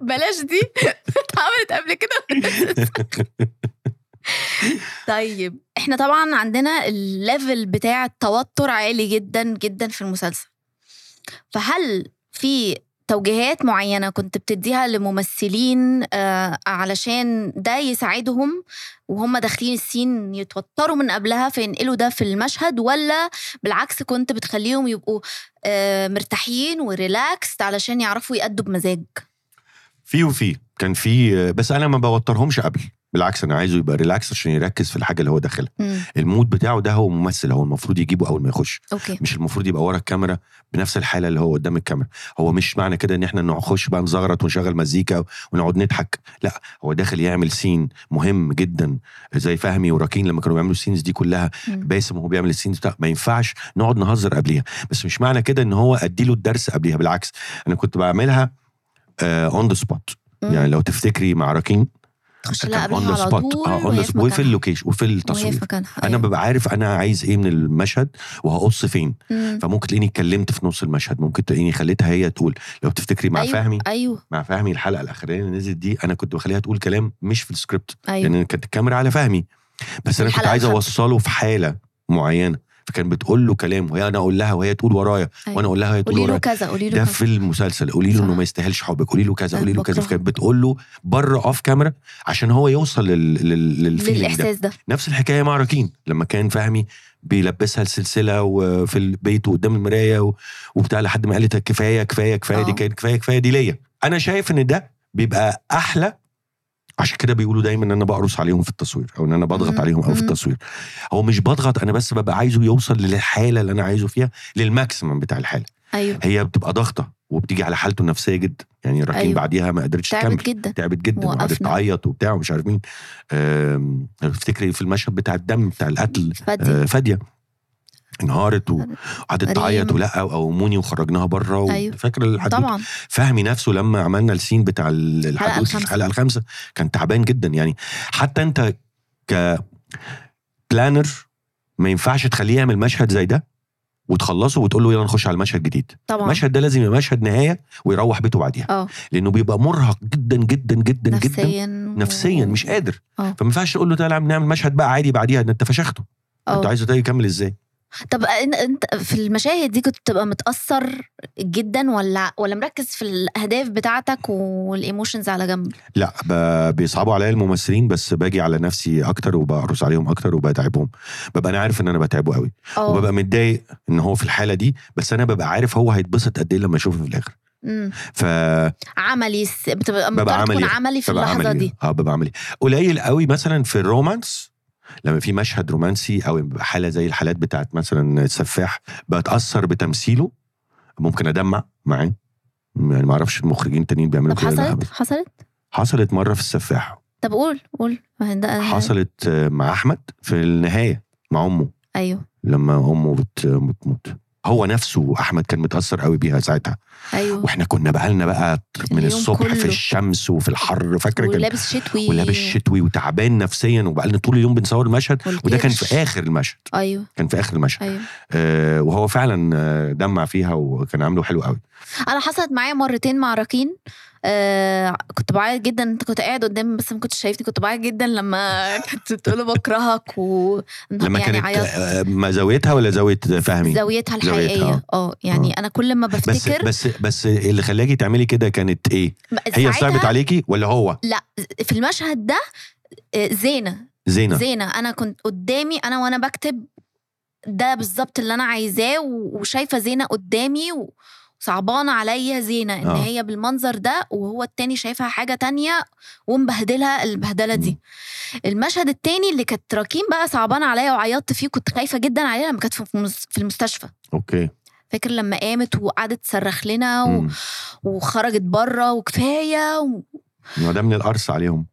[SPEAKER 1] بلاش دي اتعملت قبل كده طيب احنا طبعا عندنا الليفل بتاع التوتر عالي جدا جدا في المسلسل فهل في توجيهات معينة كنت بتديها لممثلين آه علشان ده يساعدهم وهم داخلين السين يتوتروا من قبلها فينقلوا ده في المشهد ولا بالعكس كنت بتخليهم يبقوا آه مرتاحين وريلاكس علشان يعرفوا يأدوا بمزاج
[SPEAKER 2] في وفي كان في بس انا ما بوترهمش قبل بالعكس انا عايزه يبقى ريلاكس عشان يركز في الحاجه اللي هو داخلها
[SPEAKER 1] مم.
[SPEAKER 2] المود بتاعه ده هو ممثل هو المفروض يجيبه اول ما يخش
[SPEAKER 1] اوكي
[SPEAKER 2] مش المفروض يبقى ورا الكاميرا بنفس الحاله اللي هو قدام الكاميرا هو مش معنى كده ان احنا نخش بقى نزغرط ونشغل مزيكا ونقعد نضحك لا هو داخل يعمل سين مهم جدا زي فهمي وراكين لما كانوا بيعملوا السينز دي كلها
[SPEAKER 1] مم.
[SPEAKER 2] باسم وهو بيعمل السينز بتاع ما ينفعش نقعد نهزر قبليها بس مش معنى كده ان هو اديله الدرس قبليها بالعكس انا كنت بعملها آه، اون ذا سبوت
[SPEAKER 1] مم.
[SPEAKER 2] يعني لو تفتكري مع راكين
[SPEAKER 1] تخش لها
[SPEAKER 2] كان آه،
[SPEAKER 1] قبلها على طول
[SPEAKER 2] اون ذا
[SPEAKER 1] وهي في
[SPEAKER 2] سبوت وفي
[SPEAKER 1] مكانها.
[SPEAKER 2] اللوكيشن وفي
[SPEAKER 1] وهي في
[SPEAKER 2] التصوير
[SPEAKER 1] مكانها
[SPEAKER 2] انا
[SPEAKER 1] أيوة.
[SPEAKER 2] ببقى عارف انا عايز ايه من المشهد وهقص فين
[SPEAKER 1] أيوه. مم.
[SPEAKER 2] فممكن تلاقيني اتكلمت في نص المشهد ممكن تلاقيني خليتها هي تقول لو تفتكري مع
[SPEAKER 1] أيوة.
[SPEAKER 2] فهمي
[SPEAKER 1] ايوه
[SPEAKER 2] مع فهمي الحلقه الاخرانيه اللي نزلت دي انا كنت بخليها تقول كلام مش في السكريبت
[SPEAKER 1] ايوه
[SPEAKER 2] لان كانت الكاميرا على فهمي بس انا كنت
[SPEAKER 1] الحلقة
[SPEAKER 2] عايز
[SPEAKER 1] الخامسة.
[SPEAKER 2] اوصله في حاله معينه فكان بتقول له كلام وهي انا اقول لها وهي تقول ورايا
[SPEAKER 1] أيوة.
[SPEAKER 2] وانا اقول لها وهي تقول
[SPEAKER 1] قولي له
[SPEAKER 2] ورايا
[SPEAKER 1] كذا قولي له
[SPEAKER 2] ده
[SPEAKER 1] كذا
[SPEAKER 2] في المسلسل قولي له انه
[SPEAKER 1] صح. طيب،
[SPEAKER 2] ما يستاهلش حبك قولي له كذا
[SPEAKER 1] أنا
[SPEAKER 2] قولي له كذا
[SPEAKER 1] بكرهه.
[SPEAKER 2] فكانت بتقول له بره اوف كاميرا عشان هو يوصل لل... لل... للفيلينج ده
[SPEAKER 1] للاحساس ده
[SPEAKER 2] نفس الحكايه مع راكين لما كان فهمي بيلبسها السلسله وفي البيت وقدام المرايه و... وبتاع لحد ما قالت كفايه كفايه كفايه دي
[SPEAKER 1] آه.
[SPEAKER 2] كانت كفايه كفايه دي ليا انا شايف ان ده بيبقى احلى عشان كده بيقولوا دايما ان انا بقرص عليهم في التصوير او ان انا بضغط
[SPEAKER 1] مم.
[SPEAKER 2] عليهم او في
[SPEAKER 1] مم.
[SPEAKER 2] التصوير هو مش بضغط انا بس ببقى عايزه يوصل للحاله اللي انا عايزه فيها للماكسيمم بتاع الحاله
[SPEAKER 1] ايوه
[SPEAKER 2] هي بتبقى ضغطه وبتيجي على حالته النفسيه جدا يعني راكين
[SPEAKER 1] أيوة.
[SPEAKER 2] أيوه. بعديها ما قدرتش تكمل
[SPEAKER 1] تعبت جدا
[SPEAKER 2] تعبت جدا وقعدت
[SPEAKER 1] وقفنا.
[SPEAKER 2] تعيط وبتاع ومش عارف مين آم، افتكري في المشهد بتاع الدم بتاع القتل
[SPEAKER 1] فدي
[SPEAKER 2] آه، فاديه انهارت و- وقعدت
[SPEAKER 1] ريم.
[SPEAKER 2] تعيط ولا وقوموني وخرجناها بره و...
[SPEAKER 1] أيوة.
[SPEAKER 2] فاكره الحدوته
[SPEAKER 1] طبعا
[SPEAKER 2] فهمي نفسه لما عملنا السين بتاع ال- الحدوته في
[SPEAKER 1] الخامسة.
[SPEAKER 2] الحلقه الخامسه كان تعبان جدا يعني حتى انت ك بلانر ما ينفعش تخليه يعمل مشهد زي ده وتخلصه وتقول له يلا نخش على المشهد الجديد
[SPEAKER 1] طبعا
[SPEAKER 2] المشهد ده لازم يبقى مشهد نهايه ويروح بيته بعديها
[SPEAKER 1] اه
[SPEAKER 2] لانه بيبقى مرهق جدا جدا جدا جدا
[SPEAKER 1] نفسيا
[SPEAKER 2] نفسيا مش قادر
[SPEAKER 1] آه.
[SPEAKER 2] فما ينفعش تقول له تعالى نعمل مشهد بقى عادي بعديها ده انت فشخته انت
[SPEAKER 1] اه
[SPEAKER 2] عايزه ده يكمل ازاي
[SPEAKER 1] طب إن- انت في المشاهد دي كنت بتبقى متاثر جدا ولا ولا مركز في الاهداف بتاعتك والايموشنز على جنب
[SPEAKER 2] لا ب- بيصعبوا عليا الممثلين بس باجي على نفسي اكتر وبقرص عليهم اكتر وبتعبهم ببقى انا عارف ان انا بتعبه قوي
[SPEAKER 1] اه
[SPEAKER 2] وببقى متضايق ان هو في الحاله دي بس انا ببقى عارف هو هيتبسط قد ايه لما يشوفه في الاخر
[SPEAKER 1] أمم.
[SPEAKER 2] ف
[SPEAKER 1] عملي س- بتبقى مضطر تكون
[SPEAKER 2] عملي. يعني.
[SPEAKER 1] عملي في
[SPEAKER 2] ببقى
[SPEAKER 1] اللحظه
[SPEAKER 2] عملي
[SPEAKER 1] دي
[SPEAKER 2] اه ببقى عملي قليل قوي مثلا في الرومانس لما في مشهد رومانسي او بيبقى حاله زي الحالات بتاعت مثلا السفاح بتاثر بتمثيله ممكن ادمع معاه يعني ما اعرفش المخرجين التانيين بيعملوا
[SPEAKER 1] طب
[SPEAKER 2] كده ولا لأ.
[SPEAKER 1] حصلت حصلت
[SPEAKER 2] حصلت مره في السفاح
[SPEAKER 1] طب قول قول ما هي ده-
[SPEAKER 2] حصلت آه، مع احمد في النهايه مع امه
[SPEAKER 1] ايوه
[SPEAKER 2] لما امه بت- بتموت هو نفسه احمد كان متاثر قوي بيها ساعتها
[SPEAKER 1] ايوه
[SPEAKER 2] واحنا كنا بقالنا بقى من
[SPEAKER 1] اليوم
[SPEAKER 2] الصبح
[SPEAKER 1] كله.
[SPEAKER 2] في الشمس وفي الحر فاكره كان
[SPEAKER 1] ولابس شتوي
[SPEAKER 2] ولابس شتوي وتعبان نفسيا وبقالنا طول اليوم بنصور المشهد وده كان
[SPEAKER 1] والقرش.
[SPEAKER 2] في اخر المشهد
[SPEAKER 1] ايوه
[SPEAKER 2] كان في اخر المشهد
[SPEAKER 1] ايوه
[SPEAKER 2] آه وهو فعلا آه، دمع فيها وكان عامله حلو قوي
[SPEAKER 1] انا حصلت معايا مرتين مع راكين آه كنت بعيط جدا انت كنت قاعد قدامي بس ما كنتش شايفني كنت بعيط جدا لما كنت بتقول بكرهك و
[SPEAKER 2] لما
[SPEAKER 1] يعني
[SPEAKER 2] كانت
[SPEAKER 1] عيطت
[SPEAKER 2] آه، ما زاويتها ولا زاويه فهمي
[SPEAKER 1] زاويتها
[SPEAKER 2] زاويتها، آه.
[SPEAKER 1] الحقيقيه اه يعني انا كل ما
[SPEAKER 2] بس
[SPEAKER 1] بفتكر
[SPEAKER 2] بس بس اللي خلاكي تعملي كده كانت ايه؟ هي
[SPEAKER 1] ساعتها
[SPEAKER 2] صعبت عليكي ولا هو؟
[SPEAKER 1] لا في المشهد ده آه، زينه
[SPEAKER 2] زينه
[SPEAKER 1] زينه انا كنت قدامي انا وانا بكتب ده بالظبط اللي انا عايزاه و- وشايفه زينه قدامي و- وصعبانه عليا زينه ان
[SPEAKER 2] آه.
[SPEAKER 1] هي بالمنظر ده وهو التاني شايفها حاجه تانية ومبهدلها البهدله دي المشهد التاني اللي كانت راكين بقى صعبانه عليا وعيطت فيه كنت خايفه جدا عليها لما كانت في المس- في المستشفى
[SPEAKER 2] اوكي
[SPEAKER 1] فاكر لما قامت وقعدت تصرخ لنا و...
[SPEAKER 2] مم.
[SPEAKER 1] وخرجت بره وكفايه و...
[SPEAKER 2] ما ده من القرص عليهم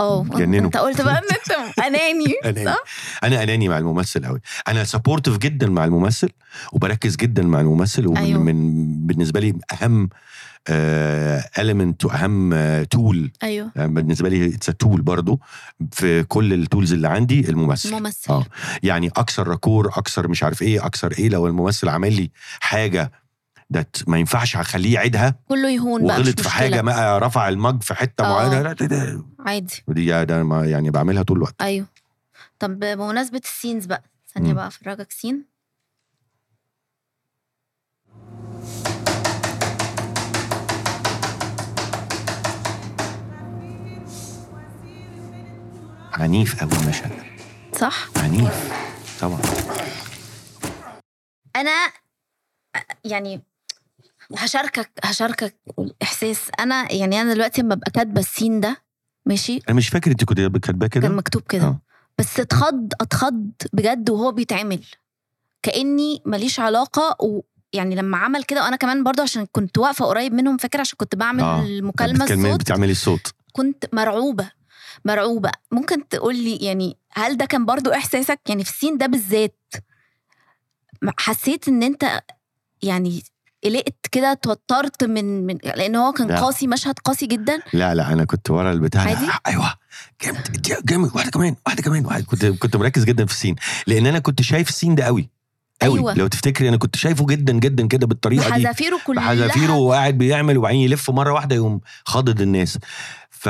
[SPEAKER 1] اه
[SPEAKER 2] جننوا.
[SPEAKER 1] انت قلت بقى ان انت اناني
[SPEAKER 2] أناني.
[SPEAKER 1] صح؟
[SPEAKER 2] انا اناني مع الممثل قوي انا سبورتيف جدا مع الممثل وبركز جدا مع الممثل ومن
[SPEAKER 1] أيوة.
[SPEAKER 2] أيوه. من بالنسبه لي آه، اهم المنت واهم تول
[SPEAKER 1] ايوه
[SPEAKER 2] بالنسبه آه، لي اتس تول برضو في كل التولز اللي عندي الممثل
[SPEAKER 1] الممثل
[SPEAKER 2] اه يعني اكسر راكور اكسر مش عارف ايه اكسر ايه لو الممثل عمل لي حاجه ده ما ينفعش اخليه يعيدها
[SPEAKER 1] كله يهون بقى مش
[SPEAKER 2] وغلط
[SPEAKER 1] مشكلة.
[SPEAKER 2] في حاجه ما رفع المج في حته
[SPEAKER 1] آه.
[SPEAKER 2] معينه لا، ده- ده-
[SPEAKER 1] عادي
[SPEAKER 2] ودي ده ما- يعني بعملها طول الوقت
[SPEAKER 1] ايوه طب بمناسبه السينز بقى ثانيه
[SPEAKER 2] مم.
[SPEAKER 1] بقى افرجك سين
[SPEAKER 2] عنيف قوي المشهد ده.
[SPEAKER 1] صح
[SPEAKER 2] عنيف طبعا
[SPEAKER 1] انا يعني هشاركك هشاركك احساس انا يعني انا دلوقتي لما ابقى كاتبه السين ده ماشي
[SPEAKER 2] انا مش فاكر انت كنت كاتباه
[SPEAKER 1] كان
[SPEAKER 2] كده
[SPEAKER 1] مكتوب كده
[SPEAKER 2] آه.
[SPEAKER 1] بس اتخض اتخض بجد وهو بيتعمل كاني ماليش علاقه و يعني لما عمل كده وانا كمان برضه عشان كنت واقفه قريب منهم فاكر عشان كنت بعمل
[SPEAKER 2] آه.
[SPEAKER 1] المكالمه
[SPEAKER 2] بتكلمي-
[SPEAKER 1] الصوت
[SPEAKER 2] بتعملي الصوت
[SPEAKER 1] كنت مرعوبة مرعوبة ممكن تقولي يعني هل ده كان برضو إحساسك يعني في السين ده بالذات م- حسيت إن أنت يعني قلقت كده اتوترت من من لأن هو كان
[SPEAKER 2] لا.
[SPEAKER 1] قاسي مشهد قاسي جدا
[SPEAKER 2] لا لا انا كنت ورا البتاع ده.
[SPEAKER 1] عادي؟
[SPEAKER 2] ايوه جامد جامد واحده كمان واحده كمان واحدة. كنت كنت مركز جدا في السين لان انا كنت شايف السين ده قوي قوي
[SPEAKER 1] أيوة.
[SPEAKER 2] لو تفتكري انا كنت شايفه جدا جدا كده بالطريقه دي
[SPEAKER 1] بحذافيره كلها
[SPEAKER 2] بحذافيره وقاعد بيعمل وبعدين يلف مره واحده يقوم خاضد الناس ف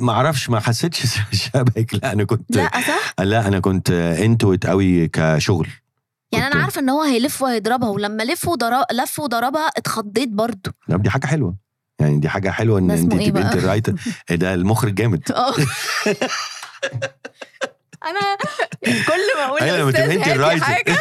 [SPEAKER 2] ما اعرفش ما حسيتش شبهك لا انا كنت
[SPEAKER 1] لا صح
[SPEAKER 2] لا انا كنت انتويت قوي كشغل
[SPEAKER 1] يعني
[SPEAKER 2] كنت-
[SPEAKER 1] انا عارفه ان هو هيلف وهيضربها ولما لف وضرب لف وضربها اتخضيت برضو
[SPEAKER 2] لا دي حاجه حلوه يعني دي حاجه حلوه ان
[SPEAKER 1] ده اسمه
[SPEAKER 2] انت
[SPEAKER 1] إيه
[SPEAKER 2] تبقي
[SPEAKER 1] بقى؟
[SPEAKER 2] انت الرايتر ده المخرج جامد
[SPEAKER 1] اه انا كل ما اقول
[SPEAKER 2] ايوه لما تبقي انت
[SPEAKER 1] للاستاذ هاتي
[SPEAKER 2] الرايتر
[SPEAKER 1] حاجه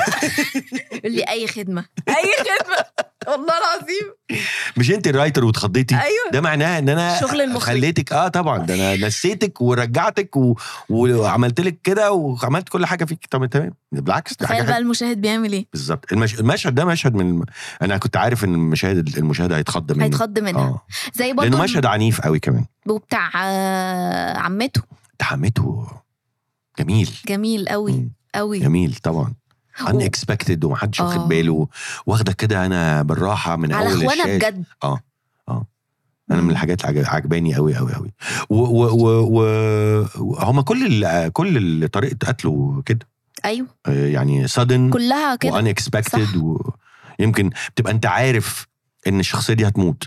[SPEAKER 1] يقول لي اي خدمه اي خدمه والله العظيم
[SPEAKER 2] مش انت الرايتر واتخضيتي
[SPEAKER 1] ايوه
[SPEAKER 2] ده معناه ان انا
[SPEAKER 1] شغل المخرج.
[SPEAKER 2] خليتك اه طبعا ده انا نسيتك ورجعتك و... وعملت لك كده وعملت كل حاجه فيك طب تمام بالعكس ده حاجه
[SPEAKER 1] تخيل بقى
[SPEAKER 2] حلوة.
[SPEAKER 1] المشاهد بيعمل ايه
[SPEAKER 2] بالظبط المش... المشهد ده مشهد من الم... انا كنت عارف ان المشاهد المشاهد هيتخض منه
[SPEAKER 1] هيتخض منها
[SPEAKER 2] اه
[SPEAKER 1] زي
[SPEAKER 2] لانه
[SPEAKER 1] برضه
[SPEAKER 2] مشهد عنيف قوي كمان
[SPEAKER 1] وبتاع آه، عمته
[SPEAKER 2] تحمته جميل
[SPEAKER 1] جميل قوي
[SPEAKER 2] مم.
[SPEAKER 1] قوي
[SPEAKER 2] جميل طبعا
[SPEAKER 1] و-
[SPEAKER 2] ان اكسبكتد ومحدش
[SPEAKER 1] آه.
[SPEAKER 2] واخد باله واخده كده انا بالراحه من
[SPEAKER 1] على
[SPEAKER 2] اول
[SPEAKER 1] اخوانا
[SPEAKER 2] الشاشه
[SPEAKER 1] بجد
[SPEAKER 2] انا
[SPEAKER 1] مم.
[SPEAKER 2] من الحاجات اللي عجب- عجباني قوي قوي قوي و و و, و هما كل ال كل ال- طريقه قتله كده
[SPEAKER 1] ايوه
[SPEAKER 2] آه، يعني سادن
[SPEAKER 1] كلها كده
[SPEAKER 2] وان اكسبكتد ويمكن بتبقى انت عارف ان الشخصيه دي هتموت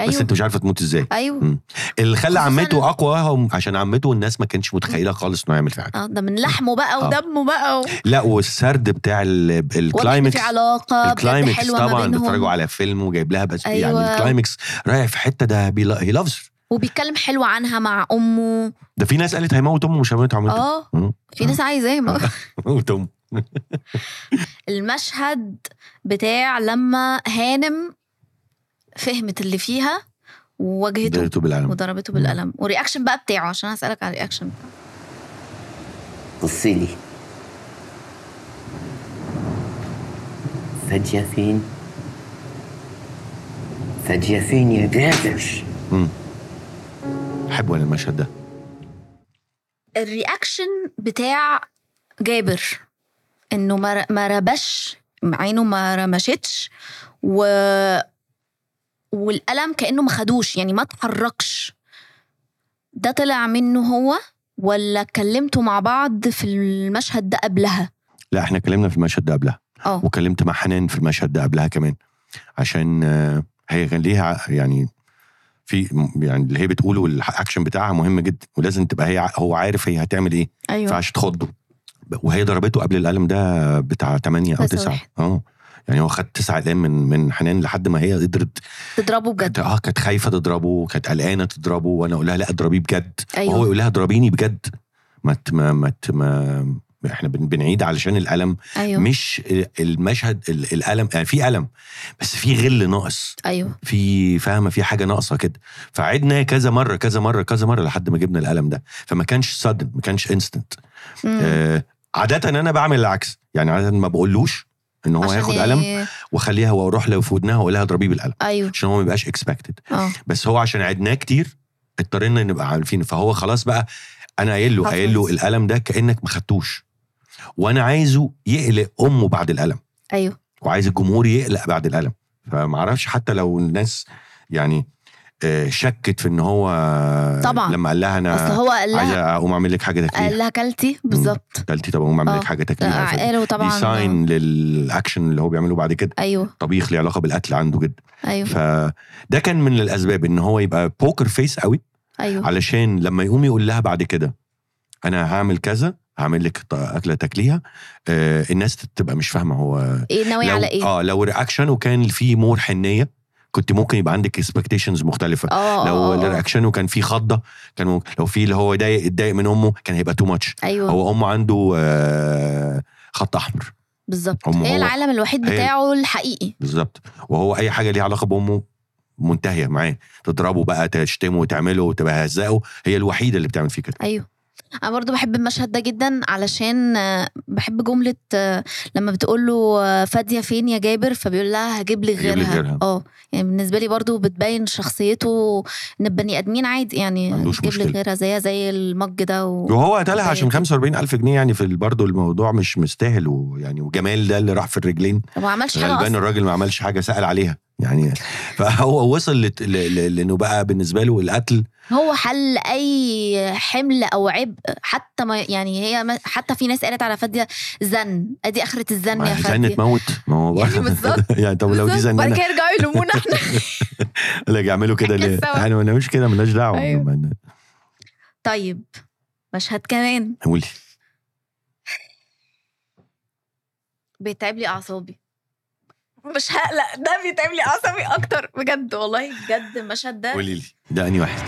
[SPEAKER 1] ايوه
[SPEAKER 2] بس انت مش عارفه تموت ازاي
[SPEAKER 1] ايوه
[SPEAKER 2] مم. اللي خلى
[SPEAKER 1] خصوصاً-
[SPEAKER 2] عمته اقوى هم عشان عمته الناس ما كانتش متخيله خالص انه يعمل في حاجه
[SPEAKER 1] اه ده من لحمه بقى
[SPEAKER 2] آه.
[SPEAKER 1] ودمه بقى و...
[SPEAKER 2] لا والسرد بتاع ال-
[SPEAKER 1] واضح إن
[SPEAKER 2] الكلايمكس
[SPEAKER 1] في علاقه بجد
[SPEAKER 2] الكلايمكس
[SPEAKER 1] حلوه ما
[SPEAKER 2] طبعا بيتفرجوا
[SPEAKER 1] بينهم
[SPEAKER 2] على فيلم وجايب لها بس أيوة.
[SPEAKER 1] أيوة.
[SPEAKER 2] يعني الكلايمكس رايح في حته ده هي لافز
[SPEAKER 1] وبيتكلم حلو عنها مع امه
[SPEAKER 2] ده في ناس قالت هيموت امه مش هيموت عمته
[SPEAKER 1] اه
[SPEAKER 2] مم. آه.
[SPEAKER 1] في ناس عايزاه ما-
[SPEAKER 2] موت امه
[SPEAKER 1] المشهد بتاع لما هانم فهمت اللي فيها وواجهته
[SPEAKER 2] درته بالقلم
[SPEAKER 1] وضربته بالقلم والرياكشن بقى بتاعه عشان هسألك على الرياكشن بتاعه
[SPEAKER 3] بصي لي فجأة فين فجأة فين يا قادر
[SPEAKER 2] احب انا يعني المشهد ده
[SPEAKER 1] الرياكشن بتاع جابر انه ما ر- ما ربش عينه ما رمشتش و والقلم كانه ما خدوش يعني ما اتحركش ده طلع منه هو ولا اتكلمتوا مع بعض في المشهد ده قبلها
[SPEAKER 2] لا احنا اتكلمنا في المشهد ده قبلها
[SPEAKER 1] اه
[SPEAKER 2] وكلمت مع حنان في المشهد ده قبلها كمان عشان آه، هي كان ليها ع- يعني في م- يعني اللي هي بتقوله والاكشن بتاعها مهم جدا ولازم تبقى هي ع- هو عارف هي هتعمل ايه ما
[SPEAKER 1] ايوه
[SPEAKER 2] ينفعش تخضه ب- وهي ضربته قبل القلم ده بتاع 8 او
[SPEAKER 1] بس
[SPEAKER 2] 9
[SPEAKER 1] واحد.
[SPEAKER 2] اه يعني هو خد 9 اقلام من من حنان لحد ما هي قدرت
[SPEAKER 1] تضربه بجد
[SPEAKER 2] كانت اه كانت خايفه تضربه كانت قلقانه تضربه وانا اقول لها لا اضربيه بجد
[SPEAKER 1] أيوة.
[SPEAKER 2] وهو يقول لها اضربيني بجد ما ت- ما ما ت- ما احنا بن- بنعيد علشان الالم
[SPEAKER 1] ايوه
[SPEAKER 2] مش المشهد ال- الالم يعني في الم بس في غل ناقص
[SPEAKER 1] ايوه
[SPEAKER 2] في فاهمه في حاجه ناقصه كده فعدنا كذا مره كذا مره كذا مره لحد ما جبنا الالم ده فما كانش سادن ما كانش انستنت
[SPEAKER 1] مم.
[SPEAKER 2] آه، عادة انا بعمل العكس يعني عادة ما بقولوش ان هو
[SPEAKER 1] عشان
[SPEAKER 2] هياخد
[SPEAKER 1] ي-
[SPEAKER 2] قلم واخليها واروح له في ودنها واقول لها اضربيه بالقلم
[SPEAKER 1] ايوه
[SPEAKER 2] عشان هو ما يبقاش اكسبكتد
[SPEAKER 1] اه
[SPEAKER 2] بس هو عشان عدناه كتير اضطرينا نبقى عارفين فهو خلاص بقى انا قايل له
[SPEAKER 1] حفظ.
[SPEAKER 2] قايل له القلم ده كانك ما خدتوش وانا عايزه يقلق امه بعد القلم
[SPEAKER 1] ايوه
[SPEAKER 2] وعايز الجمهور يقلق بعد القلم فما اعرفش حتى لو الناس يعني آه، شكت في ان هو
[SPEAKER 1] طبعاً.
[SPEAKER 2] لما قال لها
[SPEAKER 1] اصل
[SPEAKER 2] انا
[SPEAKER 1] هو قال لها
[SPEAKER 2] عايزه اقوم اعمل لك حاجه
[SPEAKER 1] قال
[SPEAKER 2] تكليف
[SPEAKER 1] لها كلتي بالظبط
[SPEAKER 2] قالتي طب اقوم اعمل
[SPEAKER 1] آه.
[SPEAKER 2] لك حاجه تكليف
[SPEAKER 1] قالوا
[SPEAKER 2] دي
[SPEAKER 1] طبعا
[SPEAKER 2] ساين للاكشن اللي هو بيعمله بعد كده
[SPEAKER 1] ايوه
[SPEAKER 2] طبيخ ليه علاقه بالقتل عنده جدا
[SPEAKER 1] ايوه
[SPEAKER 2] فده كان من الاسباب ان هو يبقى بوكر فيس قوي
[SPEAKER 1] ايوه
[SPEAKER 2] علشان لما يقوم يقول لها بعد كده انا هعمل كذا هعمل لك ط- اكله تاكليها آه الناس تبقى مش فاهمه هو
[SPEAKER 1] ايه ناوي
[SPEAKER 2] لو
[SPEAKER 1] على ايه
[SPEAKER 2] اه لو رياكشن وكان في مور حنيه كنت ممكن يبقى عندك اكسبكتيشنز مختلفه
[SPEAKER 1] اه
[SPEAKER 2] لو
[SPEAKER 1] آه، آه.
[SPEAKER 2] رياكشنه كان في خضه كان ممكن لو في اللي هو ضايق اتضايق من امه كان هيبقى تو ماتش
[SPEAKER 1] ايوه
[SPEAKER 2] هو امه عنده آه خط احمر
[SPEAKER 1] بالظبط
[SPEAKER 2] هم
[SPEAKER 1] هي
[SPEAKER 2] هو-
[SPEAKER 1] العالم الوحيد
[SPEAKER 2] هي-
[SPEAKER 1] بتاعه الحقيقي
[SPEAKER 2] بالظبط وهو اي حاجه ليها علاقه بامه منتهيه معاه تضربه بقى تشتمه تعمله تبهزقه هي الوحيده اللي بتعمل فيه كده
[SPEAKER 1] ايوه انا برضو بحب المشهد ده جدا علشان آه، بحب جمله آه، لما بتقول له آه، فاديه فين يا جابر فبيقول لها هجيب لك
[SPEAKER 2] هجيب لك
[SPEAKER 1] غيرها
[SPEAKER 2] غيرها.
[SPEAKER 1] اه يعني بالنسبه لي برضو بتبين شخصيته ان البني ادمين عادي يعني
[SPEAKER 2] ما عندوش
[SPEAKER 1] هجيب لك
[SPEAKER 2] مشكلة.
[SPEAKER 1] غيرها زيها زي المج ده و...
[SPEAKER 2] وهو قتلها عشان
[SPEAKER 1] طيب.
[SPEAKER 2] 45 الف جنيه يعني في برضه الموضوع مش مستاهل ويعني وجمال ده اللي راح في الرجلين
[SPEAKER 1] وما عملش حاجه
[SPEAKER 2] غالبا
[SPEAKER 1] اصلا
[SPEAKER 2] الراجل ما عملش حاجه سال عليها يعني فهو وصل لت- ل- ل- لانه بقى بالنسبه له القتل
[SPEAKER 1] هو حل اي حمل او عبء حتى ما يعني هي ما حتى في ناس قالت على فاديه زن ادي اخره الزن يا
[SPEAKER 2] زنة
[SPEAKER 1] فاديه
[SPEAKER 2] موت ما هو
[SPEAKER 1] يعني بالظبط
[SPEAKER 2] يعني طب لو دي
[SPEAKER 1] بالظبط. وبعد
[SPEAKER 2] زنانه
[SPEAKER 1] كده يرجعوا يلومونا احنا
[SPEAKER 2] لا يعملوا كده ليه؟
[SPEAKER 1] سوا.
[SPEAKER 2] يعني ما نعملش كده ملناش دعوه
[SPEAKER 1] أيوة.
[SPEAKER 2] أيوه.
[SPEAKER 1] طيب مشهد كمان
[SPEAKER 2] قولي
[SPEAKER 1] بيتعب لي اعصابي مش هقلق ده بيتعب لي اعصابي اكتر بجد والله بجد المشهد ده
[SPEAKER 2] قولي لي ده انهي واحد؟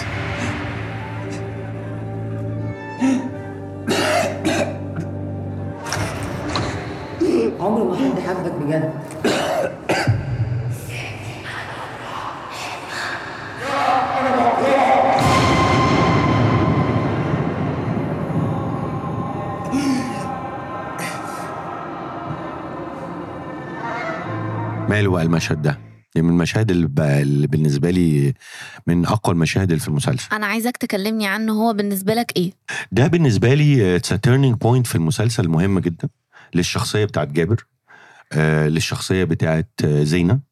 [SPEAKER 4] عمر ما حد حبك بجد
[SPEAKER 2] ماله بقى المشهد ده؟ يعني من المشاهد اللي, ب- اللي بالنسبه لي من اقوى المشاهد اللي في المسلسل
[SPEAKER 1] انا عايزك تكلمني عنه هو بالنسبه لك ايه
[SPEAKER 2] ده بالنسبه لي آه، اتس تيرنينج بوينت في المسلسل مهم جدا للشخصيه بتاعت جابر آه للشخصيه بتاعت آه، زينه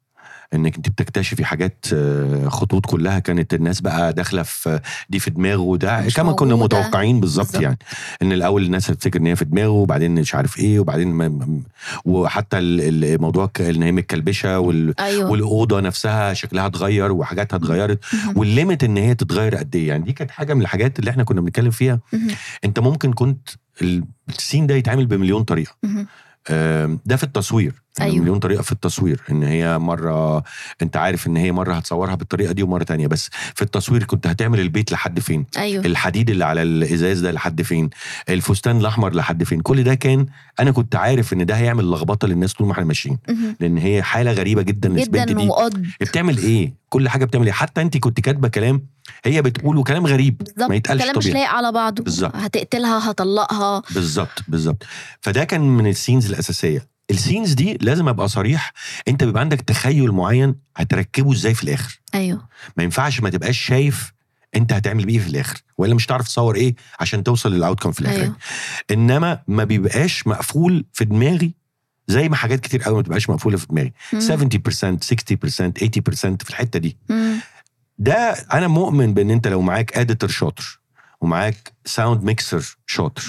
[SPEAKER 2] انك انت بتكتشفي حاجات آه، خطوط كلها كانت الناس بقى داخله في آه، دي في دماغه وده
[SPEAKER 1] مش
[SPEAKER 2] كما كنا
[SPEAKER 1] موجودة.
[SPEAKER 2] متوقعين بالظبط
[SPEAKER 1] بالظبط.
[SPEAKER 2] يعني ان الاول الناس هتفتكر ان هي في دماغه وبعدين مش عارف ايه وبعدين ما- ما- وحتى ال- الموضوع ك- ان هي متكلبشه وال
[SPEAKER 1] ايوه
[SPEAKER 2] والاوضه نفسها شكلها اتغير وحاجاتها اتغيرت
[SPEAKER 1] مهم.
[SPEAKER 2] والليميت ان هي تتغير قد ايه يعني دي كانت حاجه من الحاجات اللي احنا كنا بنتكلم فيها
[SPEAKER 1] مهم.
[SPEAKER 2] انت ممكن كنت السين ده يتعمل بمليون طريقه
[SPEAKER 1] مهم.
[SPEAKER 2] آم، ده في التصوير يعني
[SPEAKER 1] أيوة.
[SPEAKER 2] مليون طريقه في التصوير ان هي مره انت عارف ان هي مره هتصورها بالطريقه دي ومره تانية بس في التصوير كنت هتعمل البيت لحد فين
[SPEAKER 1] ايوه
[SPEAKER 2] الحديد اللي على الازاز ده لحد فين الفستان الاحمر لحد فين كل ده كان انا كنت عارف ان ده هيعمل لخبطه للناس طول ما احنا ماشيين
[SPEAKER 1] مهم.
[SPEAKER 2] لان هي حاله غريبه جدا للبنت
[SPEAKER 1] جدا
[SPEAKER 2] دي
[SPEAKER 1] وقد
[SPEAKER 2] بتعمل ايه كل حاجه بتعمل ايه حتى انت كنت كاتبه كلام هي بتقوله كلام غريب
[SPEAKER 1] بالظبط
[SPEAKER 2] ما يتقالش
[SPEAKER 1] الكلام مش
[SPEAKER 2] طبيعي
[SPEAKER 1] لايق على بعضه
[SPEAKER 2] بالظبط.
[SPEAKER 1] هتقتلها هطلقها
[SPEAKER 2] بالظبط بالظبط فده كان من السينز الاساسيه السينز دي لازم ابقى صريح انت بيبقى عندك تخيل معين هتركبه ازاي في الاخر
[SPEAKER 1] ايوه
[SPEAKER 2] ما ينفعش ما تبقاش شايف انت هتعمل بيه إيه في الاخر ولا مش تعرف تصور ايه عشان توصل للاوتكم في الاخر
[SPEAKER 1] ايوه
[SPEAKER 2] انما ما بيبقاش مقفول في دماغي زي ما حاجات كتير قوي ما بتبقاش مقفوله في دماغي 70% 60% 80%
[SPEAKER 1] مم.
[SPEAKER 2] في الحته دي
[SPEAKER 1] مم.
[SPEAKER 2] ده انا مؤمن بان انت لو معاك اديتور شاطر ومعاك ساوند ميكسر شاطر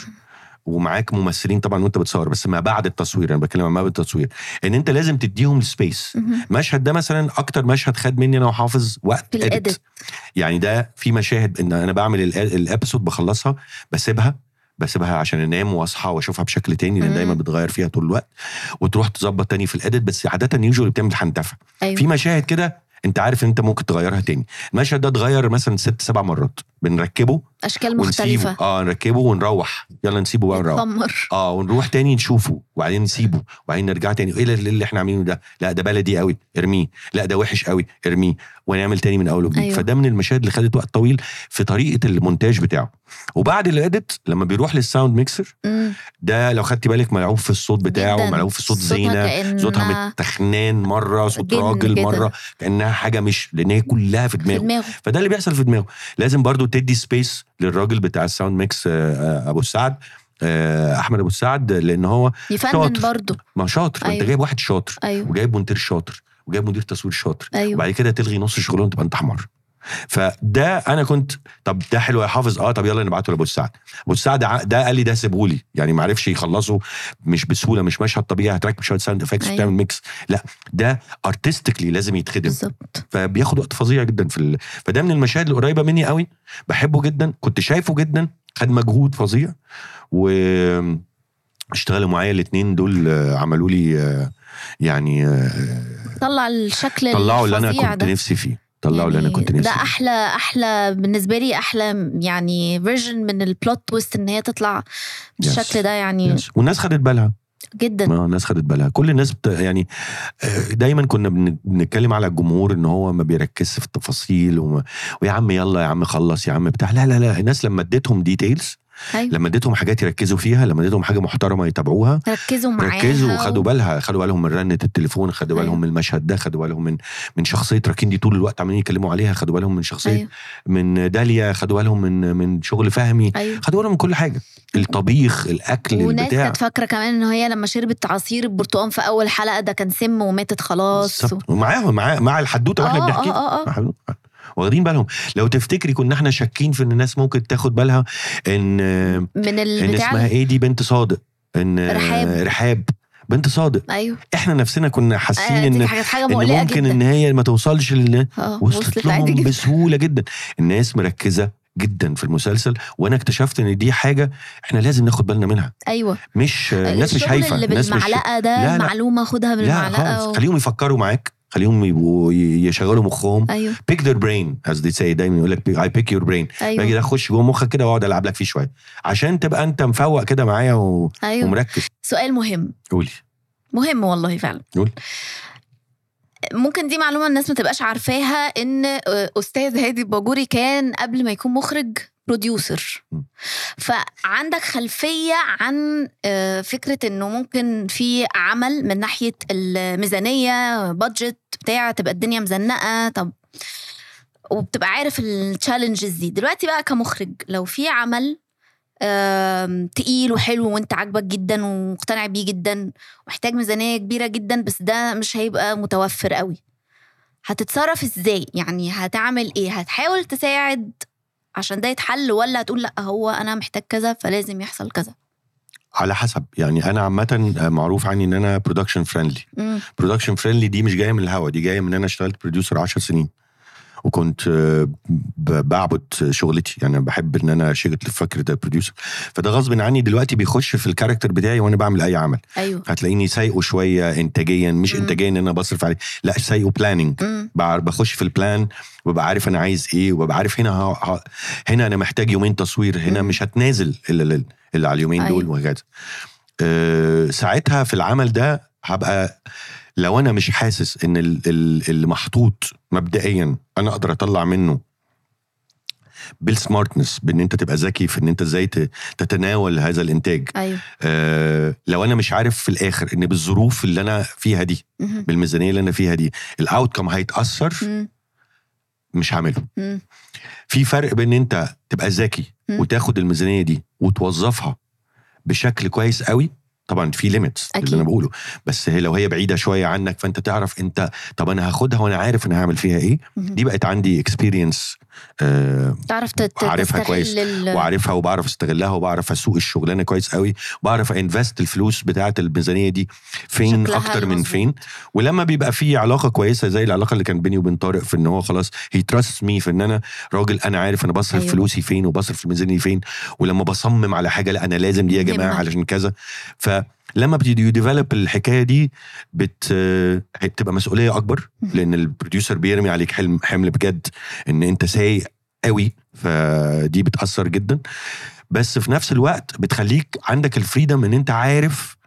[SPEAKER 2] ومعاك ممثلين طبعا وانت بتصور بس ما بعد التصوير انا بتكلم عن ما بعد التصوير ان انت لازم تديهم السبيس
[SPEAKER 1] مهم.
[SPEAKER 2] المشهد ده مثلا اكتر مشهد خد مني انا وحافظ وقت
[SPEAKER 1] في الإيديت.
[SPEAKER 2] edit. يعني ده في مشاهد ان انا بعمل الأ- الابيسود بخلصها بسيبها بسيبها عشان انام واصحى واشوفها بشكل تاني لان
[SPEAKER 1] مم.
[SPEAKER 2] دايما بتغير فيها طول الوقت وتروح تظبط تاني في الاديت بس عاده يوجوالي بتعمل حنتفه
[SPEAKER 1] ايوه
[SPEAKER 2] في مشاهد كده انت عارف ان انت ممكن تغيرها تاني المشهد ده اتغير مثلا ست سبع مرات بنركبه
[SPEAKER 1] اشكال
[SPEAKER 2] ونسيبه
[SPEAKER 1] مختلفه
[SPEAKER 2] اه نركبه ونروح يلا نسيبه بقى نروح
[SPEAKER 1] تتدمر
[SPEAKER 2] اه ونروح تاني نشوفه وبعدين نسيبه وبعدين نرجع تاني ايه اللي- اللي احنا عاملينه ده لا ده بلدي قوي ارميه لا ده وحش قوي ارميه ونعمل تاني من اول وجديد
[SPEAKER 1] أيوة.
[SPEAKER 2] أيوه. فده من المشاهد اللي خدت وقت طويل في طريقه المونتاج بتاعه وبعد الاديت لما بيروح للساوند ميكسر
[SPEAKER 1] مم.
[SPEAKER 2] ده لو خدت بالك ملعوب في الصوت بتاعه
[SPEAKER 1] جداً.
[SPEAKER 2] ملعوب في صوت
[SPEAKER 1] صوتها
[SPEAKER 2] زينه
[SPEAKER 1] كأنها
[SPEAKER 2] صوتها متخنان مره صوت
[SPEAKER 1] جن
[SPEAKER 2] راجل
[SPEAKER 1] كده.
[SPEAKER 2] مره كانها حاجه مش لان هي كلها في
[SPEAKER 1] في
[SPEAKER 2] دماغه
[SPEAKER 1] دماغه
[SPEAKER 2] فده اللي بيحصل في دماغه لازم برضو تدي سبيس للراجل بتاع الساوند ميكس آه، آه، ابو السعد آه، احمد ابو السعد لان هو
[SPEAKER 1] يفنن
[SPEAKER 2] شاطر.
[SPEAKER 1] برضه
[SPEAKER 2] ما شاطر أيوه. انت
[SPEAKER 1] أيوه.
[SPEAKER 2] جايب واحد شاطر
[SPEAKER 1] ايوه
[SPEAKER 2] وجايب مونتير شاطر وجايب مدير تصوير شاطر
[SPEAKER 1] ايوه
[SPEAKER 2] وبعد كده تلغي نص شغلهم تبقى انت حمار فده انا كنت طب ده حلو يا حافظ اه طب يلا نبعته لابو السعد ابو السعد ع- ده قال لي ده سيبهولي يعني ما عرفش يخلصه مش بسهوله مش مشهد طبيعي هتركب شويه ساوند افكتس
[SPEAKER 1] أيوه.
[SPEAKER 2] وتعمل ميكس لا ده ارتستيكلي لازم يتخدم
[SPEAKER 1] بالظبط
[SPEAKER 2] فبياخد وقت فظيع جدا في ال... فده من المشاهد القريبه مني قوي بحبه جدا كنت شايفه جدا خد مجهود فظيع و اشتغلوا معايا الاثنين دول آه، عملوا لي آه، يعني آه،
[SPEAKER 1] طلع الشكل
[SPEAKER 2] طلعوا اللي انا
[SPEAKER 1] الفظيع
[SPEAKER 2] كنت
[SPEAKER 1] ده
[SPEAKER 2] نفسي فيه طلعوا اللي انا
[SPEAKER 1] يعني
[SPEAKER 2] كنت نفسي
[SPEAKER 1] ده
[SPEAKER 2] فيه.
[SPEAKER 1] احلى احلى بالنسبه لي احلى يعني فيرجن من البلوت تويست ان هي تطلع بالشكل ده يعني
[SPEAKER 2] Yes. والناس خدت بالها
[SPEAKER 1] جدا
[SPEAKER 2] ما الناس خدت بالها كل الناس بت... يعني آه، دايما كنا بن- بنتكلم على الجمهور ان هو ما بيركزش في التفاصيل وما... ويا عم يلا يا عم خلص يا عم بتاع لا لا لا الناس لما اديتهم ديتيلز
[SPEAKER 1] ايوه
[SPEAKER 2] لما اديتهم حاجات يركزوا فيها لما اديتهم حاجه محترمه يتابعوها
[SPEAKER 1] ركزوا معاها
[SPEAKER 2] ركزوا وخدوا
[SPEAKER 1] و-
[SPEAKER 2] بالها خدوا بالهم من رنه التليفون خدوا
[SPEAKER 1] أيوة.
[SPEAKER 2] بالهم من المشهد ده خدوا بالهم من من شخصيه راكين دي طول الوقت عمالين يتكلموا عليها خدوا بالهم من شخصيه أيوة.
[SPEAKER 1] ايوه
[SPEAKER 2] من داليا خدوا بالهم من من شغل فهمي
[SPEAKER 1] ايوه
[SPEAKER 2] خدوا بالهم من كل حاجه الطبيخ الاكل
[SPEAKER 1] وناس
[SPEAKER 2] البتاع
[SPEAKER 1] كانت فاكره كمان ان هي لما شربت عصير البرتقال في اول حلقه ده كان سم وماتت خلاص و...
[SPEAKER 2] بالظبط. ومعاهم مع مع الحدوته واحنا
[SPEAKER 1] اه
[SPEAKER 2] بنحكي
[SPEAKER 1] اه اه, آه.
[SPEAKER 2] محلول. واخدين بالهم لو تفتكري كنا احنا شاكين في ان الناس ممكن تاخد بالها ان ان
[SPEAKER 1] من البتاع
[SPEAKER 2] اسمها ايه دي بنت صادق ان
[SPEAKER 1] رحاب.
[SPEAKER 2] رحاب بنت صادق
[SPEAKER 1] ايوه
[SPEAKER 2] احنا نفسنا كنا
[SPEAKER 1] آه
[SPEAKER 2] حاسين
[SPEAKER 1] دي
[SPEAKER 2] ان
[SPEAKER 1] حاجه حاجه
[SPEAKER 2] ان
[SPEAKER 1] مقلقه
[SPEAKER 2] ممكن
[SPEAKER 1] جدا
[SPEAKER 2] ان هي ما توصلش لل
[SPEAKER 1] اه
[SPEAKER 2] وصلت
[SPEAKER 1] عادي
[SPEAKER 2] لهم
[SPEAKER 1] جدا
[SPEAKER 2] بسهوله جدا الناس مركزه جدا في المسلسل وانا اكتشفت ان دي حاجه احنا لازم ناخد بالنا منها
[SPEAKER 1] ايوه
[SPEAKER 2] مش آه، الناس مش
[SPEAKER 1] الشغل
[SPEAKER 2] هايفه
[SPEAKER 1] اللي
[SPEAKER 2] الناس مش
[SPEAKER 1] بالمعلقه ده
[SPEAKER 2] لا، لا.
[SPEAKER 1] المعلومه خدها
[SPEAKER 2] لا
[SPEAKER 1] بالمعلقه
[SPEAKER 2] خالص
[SPEAKER 1] و...
[SPEAKER 2] خليهم يفكروا معاك خليهم يبقوا ي- يشغلوا مخهم
[SPEAKER 1] ايوه
[SPEAKER 2] بيك ذير برين از دي سي دايما يقول لك اي بيك يور برين باجي
[SPEAKER 1] ايوه
[SPEAKER 2] ده اخش جوه مخك كده واقعد العب لك فيه شويه عشان تبقى انت مفوق كده معايا و...
[SPEAKER 1] ايوه
[SPEAKER 2] ومركز
[SPEAKER 1] سؤال مهم
[SPEAKER 2] قولي
[SPEAKER 1] مهم والله فعلا
[SPEAKER 2] قول.
[SPEAKER 1] ممكن دي معلومه الناس ما تبقاش عارفاها ان استاذ هادي الباجوري كان قبل ما يكون مخرج بروديوسر
[SPEAKER 2] مم.
[SPEAKER 1] فعندك خلفيه عن آه، فكره انه ممكن في عمل من ناحيه الميزانيه بادجت بتاع تبقى الدنيا مزنقه طب وبتبقى عارف التشالنجز دي دلوقتي بقى كمخرج لو في عمل آم، تقيل وحلو وانت عاجبك جدا ومقتنع بيه جدا محتاج ميزانيه كبيره جدا بس ده مش هيبقى متوفر قوي هتتصرف ازاي يعني هتعمل ايه هتحاول تساعد عشان ده يتحل ولا هتقول لا هو انا محتاج كذا فلازم يحصل كذا
[SPEAKER 2] على حسب يعني انا عامه معروف عني ان انا برودكشن فريندلي
[SPEAKER 1] مم.
[SPEAKER 2] برودكشن فريندلي دي مش جايه من الهوا دي جايه من ان انا اشتغلت بروديوسر 10 سنين وكنت آه، ب- بعبد شغلتي يعني أنا بحب ان انا شغل فكره البروديوسر فده غصب عني دلوقتي بيخش في الكاركتر بتاعي وانا بعمل اي عمل
[SPEAKER 1] ايوه
[SPEAKER 2] هتلاقيني سايقه شويه انتاجيا مش
[SPEAKER 1] مم.
[SPEAKER 2] انتاجيا ان انا بصرف عليه لا سايقه بلاننج
[SPEAKER 1] مم.
[SPEAKER 2] بخش في البلان وببقى عارف انا عايز ايه وببقى عارف هنا ه... ه... هنا انا محتاج يومين تصوير هنا
[SPEAKER 1] مم.
[SPEAKER 2] مش هتنازل الا ال- اللي على اليومين دول
[SPEAKER 1] أيوة.
[SPEAKER 2] وهكذا أه ساعتها في العمل ده هبقى لو انا مش حاسس ان ال- ال- اللي محطوط مبدئيا انا اقدر اطلع منه بالسمارتنس بان انت تبقى ذكي في ان انت ازاي ت- تتناول هذا الانتاج
[SPEAKER 1] ايوه
[SPEAKER 2] أه لو انا مش عارف في الاخر ان بالظروف اللي انا فيها دي
[SPEAKER 1] مم.
[SPEAKER 2] بالميزانيه اللي انا فيها دي الاوتكم هيتاثر
[SPEAKER 1] مم.
[SPEAKER 2] مش هعمله
[SPEAKER 1] مم.
[SPEAKER 2] في فرق بين انت تبقى ذكي
[SPEAKER 1] مم.
[SPEAKER 2] وتاخد الميزانيه دي وتوظفها بشكل كويس قوي طبعا في ليميتس
[SPEAKER 1] أكيد.
[SPEAKER 2] اللي انا بقوله بس هي لو هي بعيده شويه عنك فانت تعرف انت طب انا هاخدها وانا عارف انا هعمل فيها ايه
[SPEAKER 1] مم.
[SPEAKER 2] دي بقت عندي اكسبيرينس آه
[SPEAKER 1] تعرف تت-
[SPEAKER 2] عارفها
[SPEAKER 1] تستغل
[SPEAKER 2] كويس
[SPEAKER 1] ال-
[SPEAKER 2] وعارفها وبعرف استغلها وبعرف اسوق الشغلانه كويس قوي بعرف انفست الفلوس بتاعه الميزانيه دي فين
[SPEAKER 1] شكلها
[SPEAKER 2] اكتر من
[SPEAKER 1] المظبوط.
[SPEAKER 2] فين ولما بيبقى في علاقه كويسه زي العلاقه اللي كان بيني وبين طارق في ان هو خلاص هي تراست مي في ان انا راجل انا عارف انا بصرف
[SPEAKER 1] أيوة.
[SPEAKER 2] أيوة. فلوسي فين وبصرف الميزانيه فين ولما بصمم على حاجه لا انا لازم دي يا جماعه
[SPEAKER 1] مهمة.
[SPEAKER 2] علشان كذا فلما بتدي ديفلوب الحكايه دي بت هي بتبقى مسؤوليه اكبر
[SPEAKER 1] مم.
[SPEAKER 2] لان البروديوسر بيرمي عليك حلم حمل بجد ان انت سايق قوي فدي بتاثر جدا بس في نفس الوقت بتخليك عندك الفريدم ان انت عارف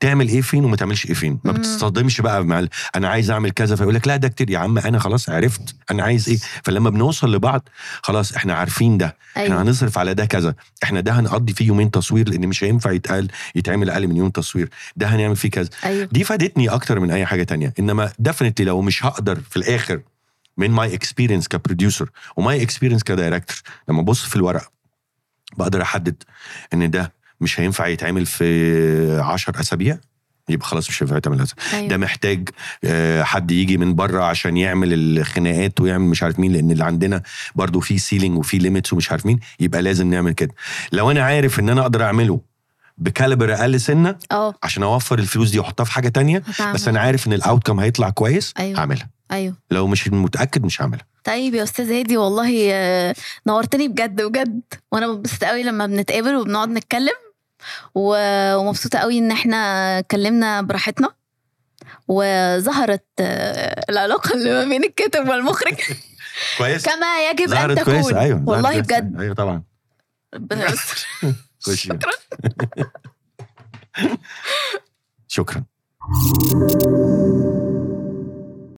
[SPEAKER 2] تعمل ايه فين وما تعملش ايه فين ما
[SPEAKER 1] مم.
[SPEAKER 2] بتصطدمش بقى مع ال- انا عايز اعمل كذا فيقول لك لا ده كتير يا عم انا خلاص عرفت انا عايز ايه فلما بنوصل لبعض خلاص احنا عارفين ده احنا
[SPEAKER 1] ايوه
[SPEAKER 2] هنصرف على ده كذا احنا ده هنقضي فيه يومين تصوير لان مش هينفع يتقال يتعمل اقل من يوم تصوير ده هنعمل فيه كذا
[SPEAKER 1] ايوه
[SPEAKER 2] دي فادتني اكتر من اي حاجه تانية انما ديفنتلي لو مش هقدر في الاخر من ماي اكسبيرينس كبروديوسر وماي اكسبيرينس كدايركتور لما ابص في الورق بقدر احدد ان ده مش هينفع يتعمل في 10 اسابيع يبقى خلاص مش هينفع يتعمل هذا. ده
[SPEAKER 1] ايوه
[SPEAKER 2] محتاج آه، حد يجي من بره عشان يعمل الخناقات ويعمل مش عارف مين لان اللي عندنا برضو في سيلينج وفي ليميتس ومش عارف مين يبقى لازم نعمل كده لو انا عارف ان انا اقدر اعمله بكالبر اقل سنه
[SPEAKER 1] اه
[SPEAKER 2] عشان اوفر الفلوس دي واحطها في حاجه تانية
[SPEAKER 1] هتعمل.
[SPEAKER 2] بس انا عارف ان الاوتكم هيطلع كويس
[SPEAKER 1] أيوة.
[SPEAKER 2] هعملها
[SPEAKER 1] ايوه
[SPEAKER 2] لو مش متاكد مش هعملها
[SPEAKER 1] طيب يا استاذ هادي والله آه، نورتني بجد بجد وانا ببسط قوي لما بنتقابل وبنقعد نتكلم و- ومبسوطه قوي ان احنا اتكلمنا براحتنا وظهرت آه، العلاقه اللي ما بين الكاتب والمخرج
[SPEAKER 2] كويس
[SPEAKER 1] كما يجب ان
[SPEAKER 2] ظهرت
[SPEAKER 1] تكون
[SPEAKER 2] كويس ايوه ظهرت
[SPEAKER 1] والله
[SPEAKER 2] كويس.
[SPEAKER 1] بجد
[SPEAKER 2] ايوه طبعا
[SPEAKER 1] ربنا يستر
[SPEAKER 2] كويس.
[SPEAKER 1] شكرا
[SPEAKER 2] شكرا